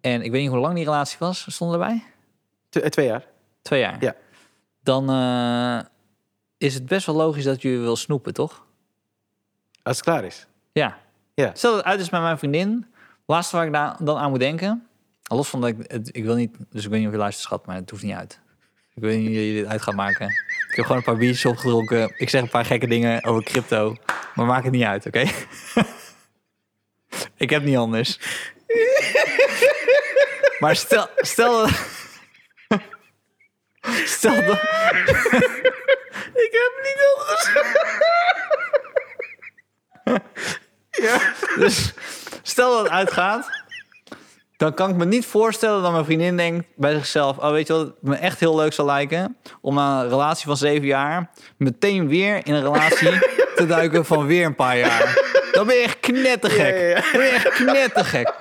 B: En ik weet niet hoe lang die relatie was. Stonden erbij?
A: Tw- eh, twee jaar.
B: Twee jaar.
A: Ja.
B: Dan eh, is het best wel logisch dat je wil snoepen, toch?
A: Als het klaar is.
B: Ja.
A: Ja.
B: Stel dat het uit is met mijn vriendin. Laatste waar ik da- dan aan moet denken. Los van dat ik het, ik wil niet, dus ik weet niet of je luistert, schat, maar het hoeft niet uit. Ik weet niet of jullie dit uit gaan maken. Ik heb gewoon een paar biertjes opgedronken. Ik zeg een paar gekke dingen over crypto. Maar maak het niet uit, oké? ik heb niet anders. maar stel, stel dat. stel dat.
A: Ik heb niet anders.
B: Dus stel dat het uitgaat, dan kan ik me niet voorstellen dat mijn vriendin denkt bij zichzelf: Oh, weet je wat, het me echt heel leuk zal lijken om na een relatie van zeven jaar meteen weer in een relatie te duiken van weer een paar jaar. Dan ben je echt knettergek.
A: Ja, ja, ja.
B: Dan ben je echt knettergek.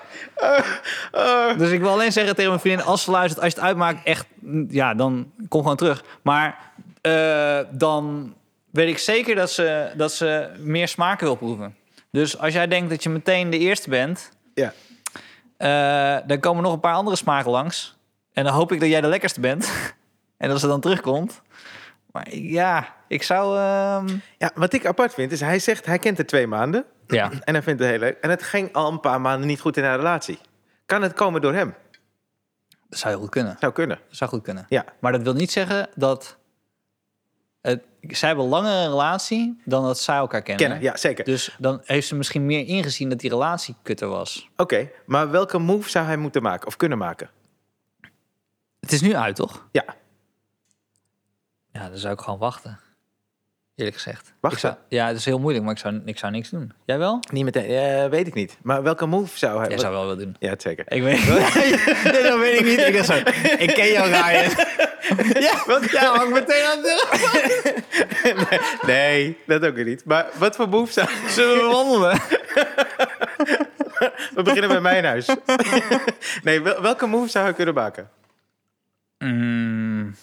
A: Oh,
B: Dus ik wil alleen zeggen tegen mijn vriendin, als ze luistert, als je het uitmaakt, echt, mm, ja, dan kom gewoon terug. Maar eh, dan weet ik zeker dat ze, dat ze meer smaken wil proeven. Dus als jij denkt dat je meteen de eerste bent,
A: ja.
B: eh, dan komen nog een paar andere smaken langs. En dan hoop ik dat jij de lekkerste bent. en dat ze dan terugkomt. Maar ik- ja, ik zou... ehm,
A: ja, wat ik apart vind is, hij zegt hij kent er twee maanden.
B: ja.
A: En hij vindt het heel leuk. En het ging al een paar maanden niet goed in haar relatie. Kan het komen door hem?
B: Dat zou heel goed kunnen.
A: Zou kunnen.
B: Dat zou goed kunnen.
A: Ja.
B: Maar dat wil niet zeggen dat... Het, zij hebben langer een relatie dan dat zij elkaar kennen.
A: Kennen, ja, zeker.
B: Dus dan heeft ze misschien meer ingezien dat die relatie kutter was.
A: Oké, maar welke move zou hij moeten maken of kunnen maken?
B: Het is nu uit, toch?
A: Ja,
B: Ja, dan zou ik gewoon wachten. eerlijk gezegd.
A: Wacht
B: Ik zou- Ja, het is heel moeilijk, maar ik zou, ik zou niks doen. Jij wel?
A: Niet meteen, eh, weet ik niet. Maar welke move zou hij...
B: Jij zou wel wat doen.
A: Ja, zeker.
B: Ik weet nee, dat weet ik niet. Ik, dacht zo, ik ken jou, Ryan.
A: Ja, welke...
B: Ja, hang meteen aan de
A: Nee, dat ook weer niet. Maar wat voor move zou...
B: Zullen we wandelen?
A: We beginnen bij mijn huis. Nee, wel- welke move zou hij kunnen maken?
B: Mm.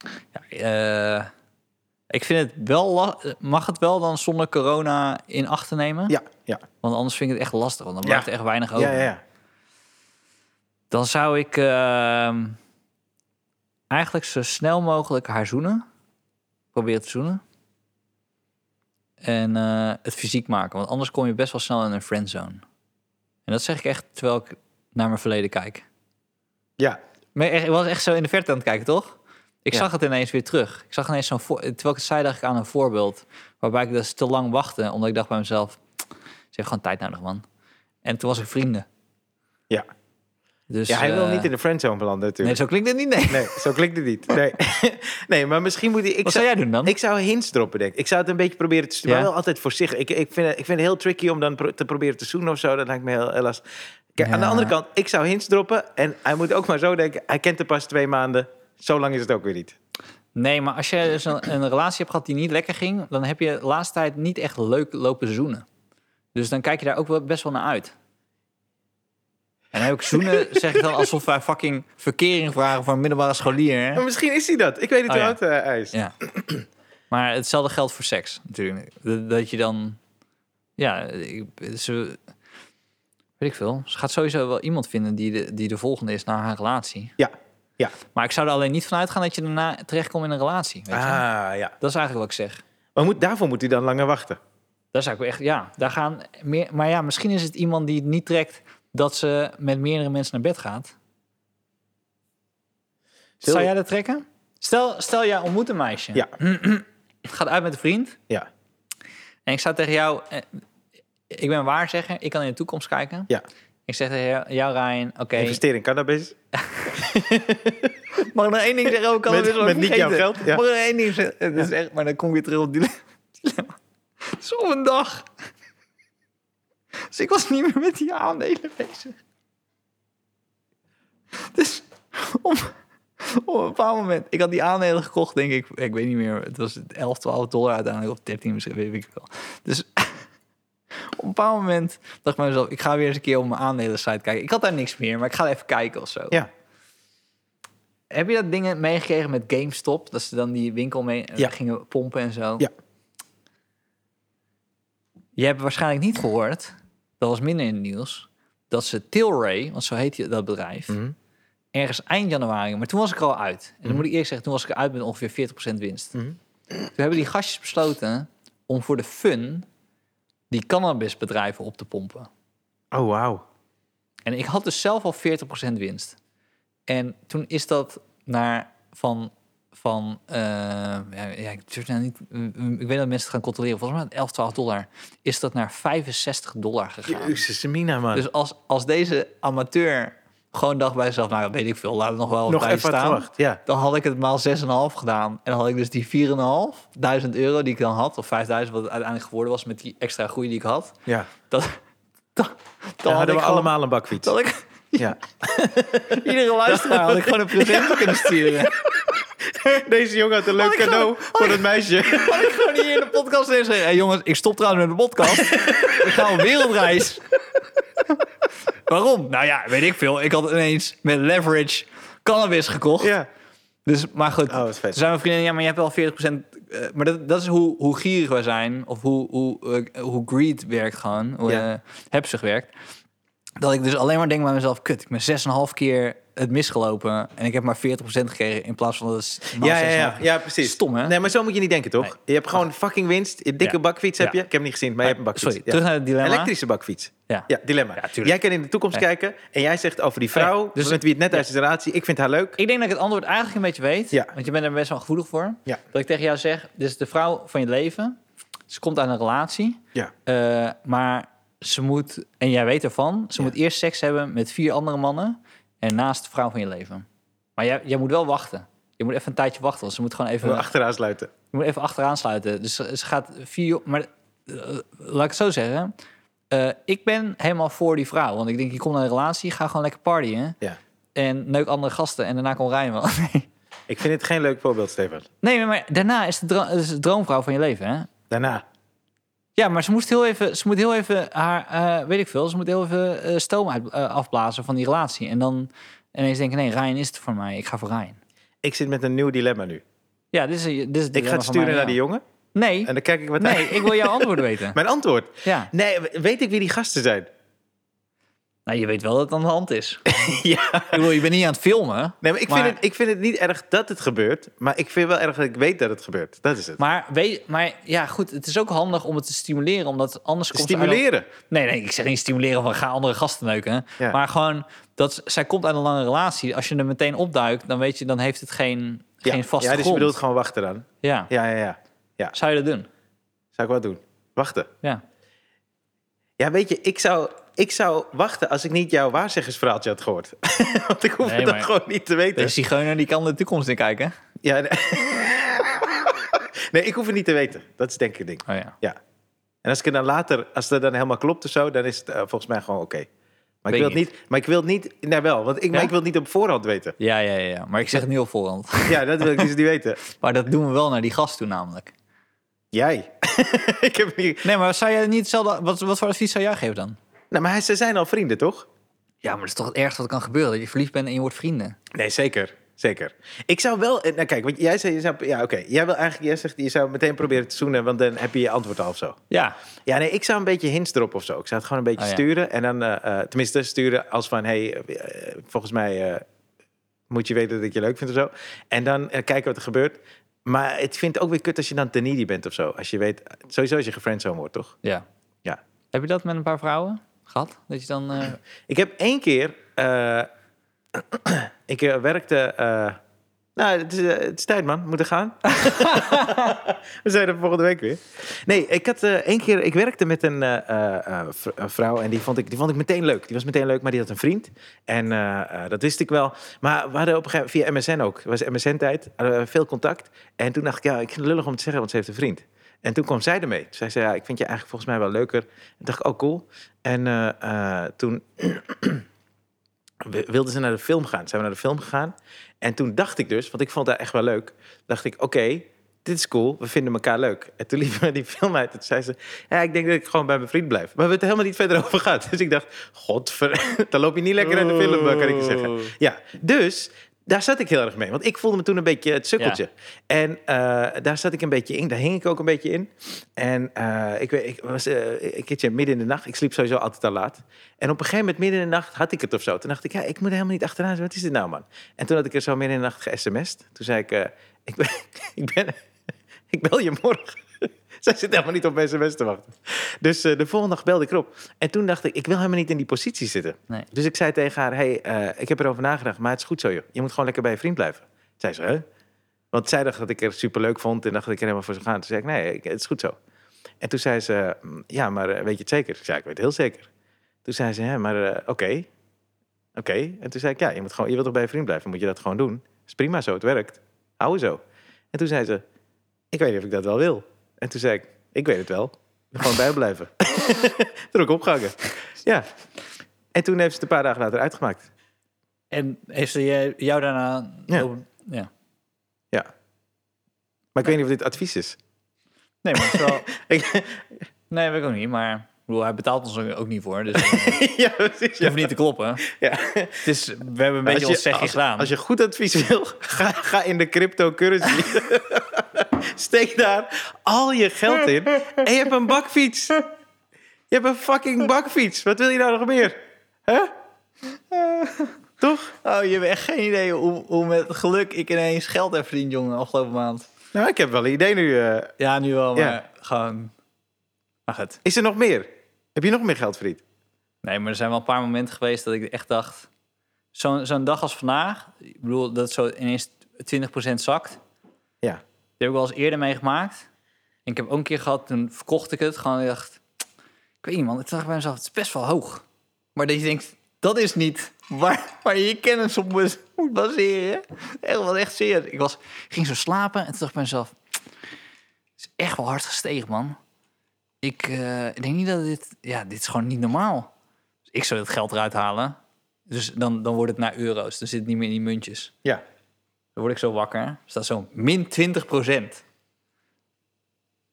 B: Ja, eh, ik vind het wel... la- Mag het wel dan zonder corona in acht te nemen?
A: Ja, ja.
B: Want anders vind ik het echt lastig, want dan
A: Ja.
B: blijft er echt weinig over.
A: Ja, ja, ja.
B: Dan zou ik ehm, eigenlijk zo snel mogelijk haar zoenen. Proberen te zoenen. En eh, het fysiek maken, want anders kom je best wel snel in een friendzone. En dat zeg ik echt terwijl ik naar mijn verleden kijk.
A: Ja,
B: Maar echt- ik was echt zo in de verte aan het kijken, toch? Ik
A: Ja.
B: zag het ineens weer terug. Ik zag ineens zo'n... voor- Terwijl ik het zei, dacht ik aan een voorbeeld... waarbij ik dus te lang wachtte, omdat ik dacht bij mezelf... ze heeft gewoon tijd nodig, man. En toen was ik vrienden.
A: ja.
B: Dus,
A: ja hij wil
B: eh,
A: niet in de friendzone belanden
B: Nee,
A: natuurlijk.
B: zo klinkt het niet, nee.
A: Nee, zo klinkt het niet. Nee, nee maar misschien moet hij... Ik
B: Wat zou jij doen dan?
A: Ik zou hints droppen, denk ik. Ik zou het een beetje proberen te sturen.
B: Ja.
A: Maar wel altijd voorzichtig. Ik, ik, vind, het- ik vind het heel tricky om dan pro- te proberen te zoenen of zo. Dat lijkt me heel, heel lastig. Kijk, aan de
B: Ja.
A: andere kant, ik zou hints droppen. En hij moet ook maar zo denken. Hij kent er pas twee maanden. Zo lang is het ook weer niet.
B: Nee, maar als je dus een, een relatie hebt gehad die niet lekker ging... dan heb je de laatste tijd niet echt leuk lopen zoenen. Dus dan kijk je daar ook wel best wel naar uit. En dan heb ik zoenen, zeg ik dan alsof wij fucking verkering vragen voor een middelbare scholier. hè?
A: Maar misschien is hij dat. Ik weet niet
B: Oh,
A: hoe
B: ja.
A: oud eh, hij is.
B: Ja. Maar hetzelfde geldt voor seks natuurlijk. Dat- Dat je dan... Ja, ik- ze... Weet ik veel. Ze gaat sowieso wel iemand vinden die de, die de volgende is na haar relatie.
A: Ja. ja.
B: Maar ik zou er alleen niet van uitgaan dat je daarna terechtkomt in een relatie. Weet je?
A: Ah, ja.
B: Dat is eigenlijk wat ik zeg.
A: Maar moet, daarvoor moet hij dan langer wachten.
B: Daar zou ik wel echt... Ja, daar gaan meer... Maar ja, misschien is het iemand die het niet trekt dat ze met meerdere mensen naar bed gaat. Zou jij dat trekken? Stel, stel jij ontmoet een meisje.
A: Ja.
B: Gaat uit met een vriend.
A: Ja.
B: En ik zou tegen jou... eh, Ik ben waarzegger, ik kan in de toekomst kijken.
A: Ja.
B: Ik zeg tegen jou, jou Ryan, oké...
A: Investeren in cannabis.
B: Mag ik nog één ding zeggen? Oh, Ik kan
A: Met-
B: het weer zo
A: met niet jouw
B: vergeten.
A: geld, ja.
B: Mag ik nog één ding zeggen? Het is echt, maar dan kom ik weer terug op die dilemma. Het is op een dag. Dus ik was niet meer met die aandelen bezig. Dus om, op een bepaald moment... Ik had die aandelen gekocht, denk ik. Ik weet niet meer. Het was 11, 12 dollar uiteindelijk. Of 13 misschien, weet ik wel. Dus op een bepaald moment dacht ik bij mezelf... Ik ga weer eens een keer op mijn aandelen site kijken. Ik had daar niks meer, maar ik ga even kijken of zo.
A: Ja.
B: Heb je dat dingen meegekregen met GameStop? Dat ze dan die winkel mee eh,
A: Ja.
B: gingen pompen en zo?
A: Ja.
B: Je hebt waarschijnlijk niet gehoord, dat was minder in het nieuws, dat ze Tilray, want zo heet die- dat bedrijf,
A: Mhm.
B: ergens eind januari, maar toen was ik er al uit. En dan moet ik eerlijk zeggen, toen was ik eruit met ongeveer 40% winst.
A: Mhm.
B: Toen hebben die gastjes besloten om voor de fun die cannabisbedrijven op te pompen.
A: Oh, wauw.
B: En ik had dus zelf al 40% winst. En toen is dat naar van. van eh, ja, ja, ik, durf nou niet, ik weet dat mensen het gaan controleren. Volgens mij 11, 12 dollar. Is dat naar 65 dollar gegaan.
A: Jezus, Mina, man.
B: Dus als, als deze amateur gewoon dacht bij zichzelf: Nou, weet ik veel, laat het nog wel
A: Nog
B: bij
A: even wat
B: staan.
A: gewacht, ja.
B: Dan had ik het maal 6,5 gedaan. En dan had ik dus die 4,5 duizend euro die ik dan had. Of 5000, wat het uiteindelijk geworden was met die extra groei die ik had.
A: ja.
B: Dat, dat,
A: Dan hadden we
B: ik gewoon-
A: allemaal een bakfiets.
B: Dat ik,
A: Ja.
B: Iedere luisteraar had ik gewoon een presentje kunnen sturen.
A: Deze jongen had een leuk
B: Oh, ik gewoon-
A: cadeau voor het meisje.
B: Had ik gewoon hier in de podcast en zeggen... Hey jongens, ik stop trouwens met de podcast. Ik ga op wereldreis. Waarom? Nou ja, weet ik veel. Ik had ineens met leverage cannabis gekocht.
A: Ja.
B: Dus, maar goed,
A: Oh, wat vet.
B: toen zei mijn vriendin... Ja, maar je hebt wel 40%... eh, maar dat, dat is hoe, hoe gierig wij zijn. Of hoe, hoe, eh, hoe greed werkt gewoon. Hoe
A: Ja.
B: eh, hebzucht werkt. Dat ik dus alleen maar denk bij mezelf... Kut, ik ben 6,5 keer het misgelopen. En ik heb maar 40% gekregen. In plaats van dat het
A: Ja, ja, ja, ja, precies.
B: Stom, hè?
A: Nee, maar zo moet je niet denken, toch?
B: Nee.
A: Je hebt gewoon fucking winst. Je dikke
B: Ja.
A: bakfiets heb
B: Ja. Ah,
A: je. Ik heb hem niet gezien, maar je hebt een bakfiets.
B: Sorry,
A: Ja.
B: terug naar het dilemma.
A: Elektrische bakfiets.
B: Ja.
A: Ja, dilemma.
B: Ja, tuurlijk.
A: jij kan in de toekomst
B: Ja.
A: kijken en jij zegt over die vrouw,
B: Ja, dus-
A: met wie het net uit is relatie, ik vind haar leuk.
B: Ik denk dat ik het antwoord eigenlijk een beetje weet.
A: Ja.
B: Want je bent er best wel gevoelig voor.
A: Ja.
B: Dat ik tegen jou zeg, dit is de vrouw van je leven. Ze komt uit een relatie.
A: Ja.
B: eh, maar ze moet, en jij weet ervan, ze
A: Ja.
B: moet eerst seks hebben met vier andere mannen. En naast de vrouw van je leven. Maar jij, jij moet wel wachten. Je moet even een tijdje wachten, want ze moet gewoon even,
A: We achteraan sluiten.
B: je moet even achteraan sluiten. Dus ze ze gaat vier... Maar eh, laat ik het zo zeggen. Eh, ik ben helemaal voor die vrouw. Want ik denk, je komt naar een relatie, ga gewoon lekker partyen.
A: Ja.
B: En neuk andere gasten en daarna kom rijmen. Nee.
A: Ik vind dit geen leuk voorbeeld, Stefan.
B: nee, maar- maar daarna is de, dro- is de droomvrouw van je leven, hè?
A: Daarna.
B: Ja, maar ze moest heel even, ze moet heel even haar, eh, weet ik veel, ze moet heel even eh, stoom uit, eh, afblazen van die relatie. En dan ineens denken, nee, Ryan is het voor mij, ik ga voor Ryan.
A: Ik zit met een nieuw dilemma nu.
B: Ja, dit is, dit is
A: Ik ga het sturen naar die jongen
B: jongen. Nee,
A: en dan kijk ik wat
B: nee, ik wil jouw antwoord weten.
A: Mijn antwoord.
B: Ja,
A: Nee, weet ik wie die gasten zijn?
B: nou, je weet wel dat het aan de hand is. Ik
A: ja.
B: bedoel, je bent niet aan het filmen.
A: Nee, maar ik,
B: Maar-
A: Vind het, ik vind het niet erg dat het gebeurt, maar ik vind wel erg dat ik weet dat het gebeurt. Dat is het.
B: Maar, weet, maar ja, goed, het is ook handig om het te stimuleren, omdat anders komt ze uit een-
A: Stimuleren.
B: Nee, nee, ik zeg niet stimuleren van ga andere gasten neuken.
A: Ja.
B: Maar gewoon, dat, zij komt uit een lange relatie. Als je er meteen opduikt, dan weet je, dan heeft het geen, geen vaste
A: ja, dus je
B: grond.
A: bedoelt gewoon wachten dan.
B: Ja.
A: Ja, ja, ja.
B: Zou je dat doen?
A: Zou ik wel doen. Wachten.
B: Ja.
A: Ja, weet je, ik zou, ik zou wachten als ik niet jouw waarzeggersverhaaltje had gehoord. Want ik hoef
B: Nee,
A: het dan
B: maar- Dus-
A: gewoon niet te weten.
B: De zigeuner die kan de toekomst in kijken.
A: Ja, nee. nee, ik hoef het niet te weten. Dat is denk ik het ding.
B: Oh ja.
A: Ja. En als ik het dan later, als dat dan helemaal klopt of zo, dan is het eh, volgens mij gewoon oké. Maar ik
B: Weet
A: wil het niet, maar ik wil het niet, nou wel, want ik, maar
B: Ja?
A: ik wil het niet op voorhand weten.
B: Ja, ja, ja. Maar ik zeg het nu op voorhand.
A: Ja, dat wil ik dus niet weten.
B: Maar dat doen we wel naar die gast toe namelijk.
A: Jij. ik heb niet...
B: Nee, maar zou jij niet hetzelfde... Wat, wat voor advies zou jij geven dan?
A: Nou, maar hij- ze zijn al vrienden, toch?
B: Ja, maar dat is toch het ergste wat kan gebeuren. Dat je verliefd bent en je wordt vrienden.
A: Nee, zeker. Zeker. Ik zou wel... eh, Nou, kijk, want jij zei... Je zou, ja, oké. Jij wil eigenlijk... Jij zegt, je zou meteen proberen te zoenen, want dan heb je je antwoord al of zo.
B: Ja.
A: Ja, nee, ik zou een beetje hints erop of zo. Ik zou het gewoon een beetje
B: Oh, ja.
A: sturen. En dan... eh, eh, tenminste, sturen als van... Hé, hey, eh, eh, volgens mij eh, moet je weten dat ik je leuk vind of zo. En dan eh, kijken wat er gebeurt. Maar het vindt ook weer kut als je dan te needy bent of zo. Als je weet... Sowieso als je gefriendzone wordt, toch?
B: Ja.
A: Ja.
B: Heb je dat met een paar vrouwen gehad? Dat je dan... eh,
A: Ik heb één keer. eh, ik eh, werkte. eh, nou, het is, eh, het is tijd, man. We moeten gaan. We zijn er volgende week weer. Nee, ik had eh, één keer. Ik werkte met een, eh, eh, eh, vr- een vrouw. En die vond, ik, die vond ik meteen leuk. Die was meteen leuk, maar die had een vriend. En eh, eh, dat wist ik wel. Maar we hadden op een gegeven moment. Via MSN ook. Het was MSN-tijd. Hadden we veel contact. En toen dacht ik, ja, ik vind het lullig om te zeggen, want ze heeft een vriend. En toen kwam zij ermee. Toen zei ze, ja, ik vind je eigenlijk volgens mij wel leuker. En dacht ik, oh, cool. En eh, eh, toen we- wilden ze naar de film gaan. Zijn we naar de film gegaan. En toen dacht ik dus, want ik vond dat echt wel leuk. Dacht ik, oké, dit is cool. We vinden elkaar leuk. En toen liepen we die film uit. Toen zei ze, ja, ik denk dat ik gewoon bij mijn vriend blijf. Maar we hebben het er helemaal niet verder over gehad. Dus ik dacht, godver... Dan loop je niet lekker in de film, eh, kan ik je zeggen. Ja, dus... Daar zat ik heel erg mee, want ik voelde me toen een beetje het sukkeltje. En eh, daar zat ik een beetje in, daar hing ik ook een beetje in. En eh, ik, weet- ik was eh, een keertje midden in de nacht. Ik sliep sowieso altijd al laat. En op een gegeven moment, midden in de nacht, had ik het of zo. Toen dacht ik, ja, ik moet er helemaal niet achteraan. Wat is dit nou, man? En toen had ik er zo midden in de nacht ge-sms'd. Toen zei ik, eh, ik, ben, ik, ben, ik bel je morgen. Zij zit helemaal niet op mijn sms te wachten. Dus eh, de volgende dag belde ik erop. En toen dacht ik, ik wil helemaal niet in die positie zitten.
B: Nee.
A: Dus ik zei tegen haar, hey, eh, ik heb erover nagedacht. Maar het is goed zo, joh. Je moet gewoon lekker bij je vriend blijven. Zei ze, hè? Want zij dacht dat ik er superleuk vond en dacht dat ik er helemaal voor zou gaan. Toen zei ik, nee, ik- het is goed zo. En toen zei ze, "Mm, ja, maar eh, weet je het zeker? Ik zei, ik weet het heel zeker. Toen zei ze, hè, maar eh, oké. Oké. En toen zei ik, ja, je, moet gewoon, je wilt toch bij je vriend blijven? Moet je dat gewoon doen? is prima zo, het werkt. Hou zo. En toen zei ze, ik weet niet of ik dat wel wil. En toen zei ik, ik weet het wel. Gewoon bij blijven. toen heb ik opgehangen. Ja. En toen heeft ze het een paar dagen later uitgemaakt.
B: En heeft ze je- jou daarna... Oh,
A: Ja.
B: ja.
A: Ja. Maar ik weet niet of dit advies is.
B: Nee, maar het is wel...
A: Ik-
B: Nee, weet ik ook niet, maar... ik bedoel, hij betaalt ons er ook niet voor, dus eh, het
A: ja, precies. Ja.
B: hoeft niet te kloppen.
A: Ja.
B: Het is, we hebben een beetje ons zegje
A: als,
B: gedaan.
A: Als je goed advies wil, ga, ga in de cryptocurrency. Steek daar al je geld in en je hebt een bakfiets. Je hebt een fucking bakfiets. Wat wil je nou nog meer? Hè? Toch?
B: Oh, je hebt echt geen idee hoe, hoe met geluk ik ineens geld heb verdiend, jongen, afgelopen maand.
A: Nou, ik heb wel een idee nu. eh.
B: Ja, nu wel, maar
A: Ja.
B: gewoon... Maar goed.
A: is er nog meer? Heb je nog meer geld verdiend?
B: Nee, maar er zijn wel een paar momenten geweest dat ik echt dacht... Zo'n zo'n dag als vandaag, ik bedoel, dat zo ineens 20% zakt. Die
A: Ja.
B: heb ik wel eens eerder meegemaakt. En ik heb ook een keer gehad, toen verkocht ik het. Gewoon, ik dacht, ik weet niet man, ik dacht bij mezelf, het is best wel hoog. Maar dat je denkt, dat is niet waar, waar je je kennis op moet- moet baseren. Echt, wat echt serieus. Ik was, ging zo slapen en toen dacht ik bij mezelf... Het is echt wel hard gestegen, man. Ik eh, ik denk niet dat dit... Ja, dit is gewoon niet normaal. Dus ik zou dat geld eruit halen. Dus dan, dan wordt het naar euro's. Dan zit het niet meer in die muntjes.
A: Ja.
B: Dan word ik zo wakker. Staat zo min 20 procent.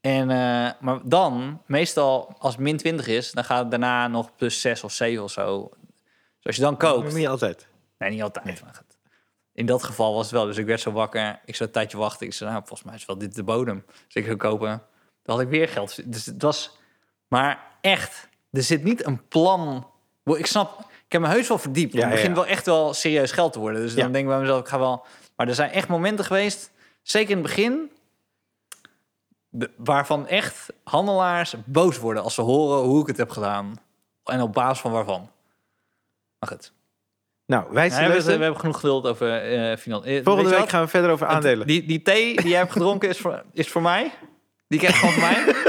B: En, eh, maar dan, meestal als het min 20 is, dan gaat het daarna nog plus 6 of 7 of zo. Dus als je dan
A: Maar
B: koopt.
A: Niet altijd.
B: Nee, niet altijd. maar goed. In dat geval was het wel. Dus ik werd zo wakker. Ik zou een tijdje wachten. Ik zei, nou, volgens mij is wel dit de bodem. Dus ik zou kopen. Dan had ik weer geld. Dus het was... Maar echt, er zit niet een plan... Wow, Ik snap, ik heb me heus wel verdiept.
A: Ja,
B: het
A: ja.
B: begint wel echt wel serieus geld te worden. Dus dan
A: Ja.
B: denk ik bij mezelf, ik ga wel... Maar er zijn echt momenten geweest, zeker in het begin... de- waarvan echt handelaars boos worden als ze horen hoe ik het heb gedaan. En op basis van waarvan. Maar goed.
A: Nou, wij
B: Ja, we,
A: zijn
B: hebben, we hebben genoeg geduld over eh finan- eh, weet
A: Volgende
B: je
A: week
B: wat?
A: gaan we verder over aandelen.
B: Die, die thee die jij hebt gedronken is voor, is voor mij. Die krijg je gewoon van mij.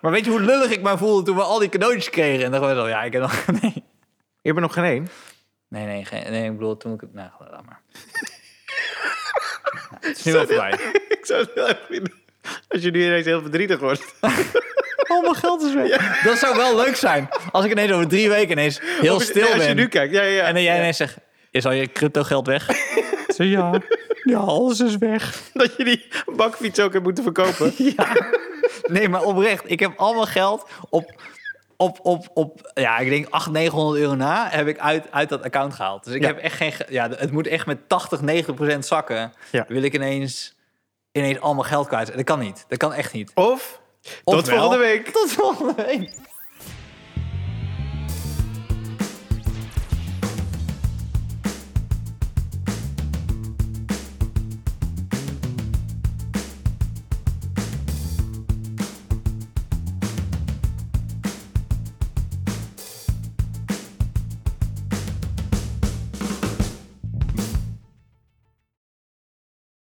B: Maar weet je hoe lullig ik mij voelde toen we al die cadeautjes kregen? En dan gewoon zo, ja, ik heb nog... Nee,
A: Ik ben nog geen één.
B: nee, nee, geen- nee ik bedoel, toen ik... Nou, laat maar. Ja, het is nu wel voorbij.
A: Ik zou het heel erg vinden als je nu ineens heel verdrietig wordt.
B: Al mijn geld is weg. Dat zou wel leuk zijn. Als ik ineens over drie weken ineens heel stil
A: Als je
B: ben.
A: nu kijkt. Ja, ja, ja.
B: En dan jij ineens zegt, is al je crypto geld weg? Ik zeg, ja. Ja, alles is weg.
A: Dat je die bakfiets ook hebt moeten verkopen.
B: Nee, maar oprecht. Ik heb al mijn geld op, op, op, op ja, ik denk 800, 900 euro na heb ik uit, uit dat account gehaald. Dus ik
A: Ja.
B: heb echt geen, ge- ja, het moet echt met 80, 90 procent zakken.
A: Ja.
B: Wil ik ineens, ineens al mijn geld kwijt. Dat kan niet. Dat kan echt niet.
A: Of, tot
B: Ofwel-
A: volgende week.
B: Tot volgende week.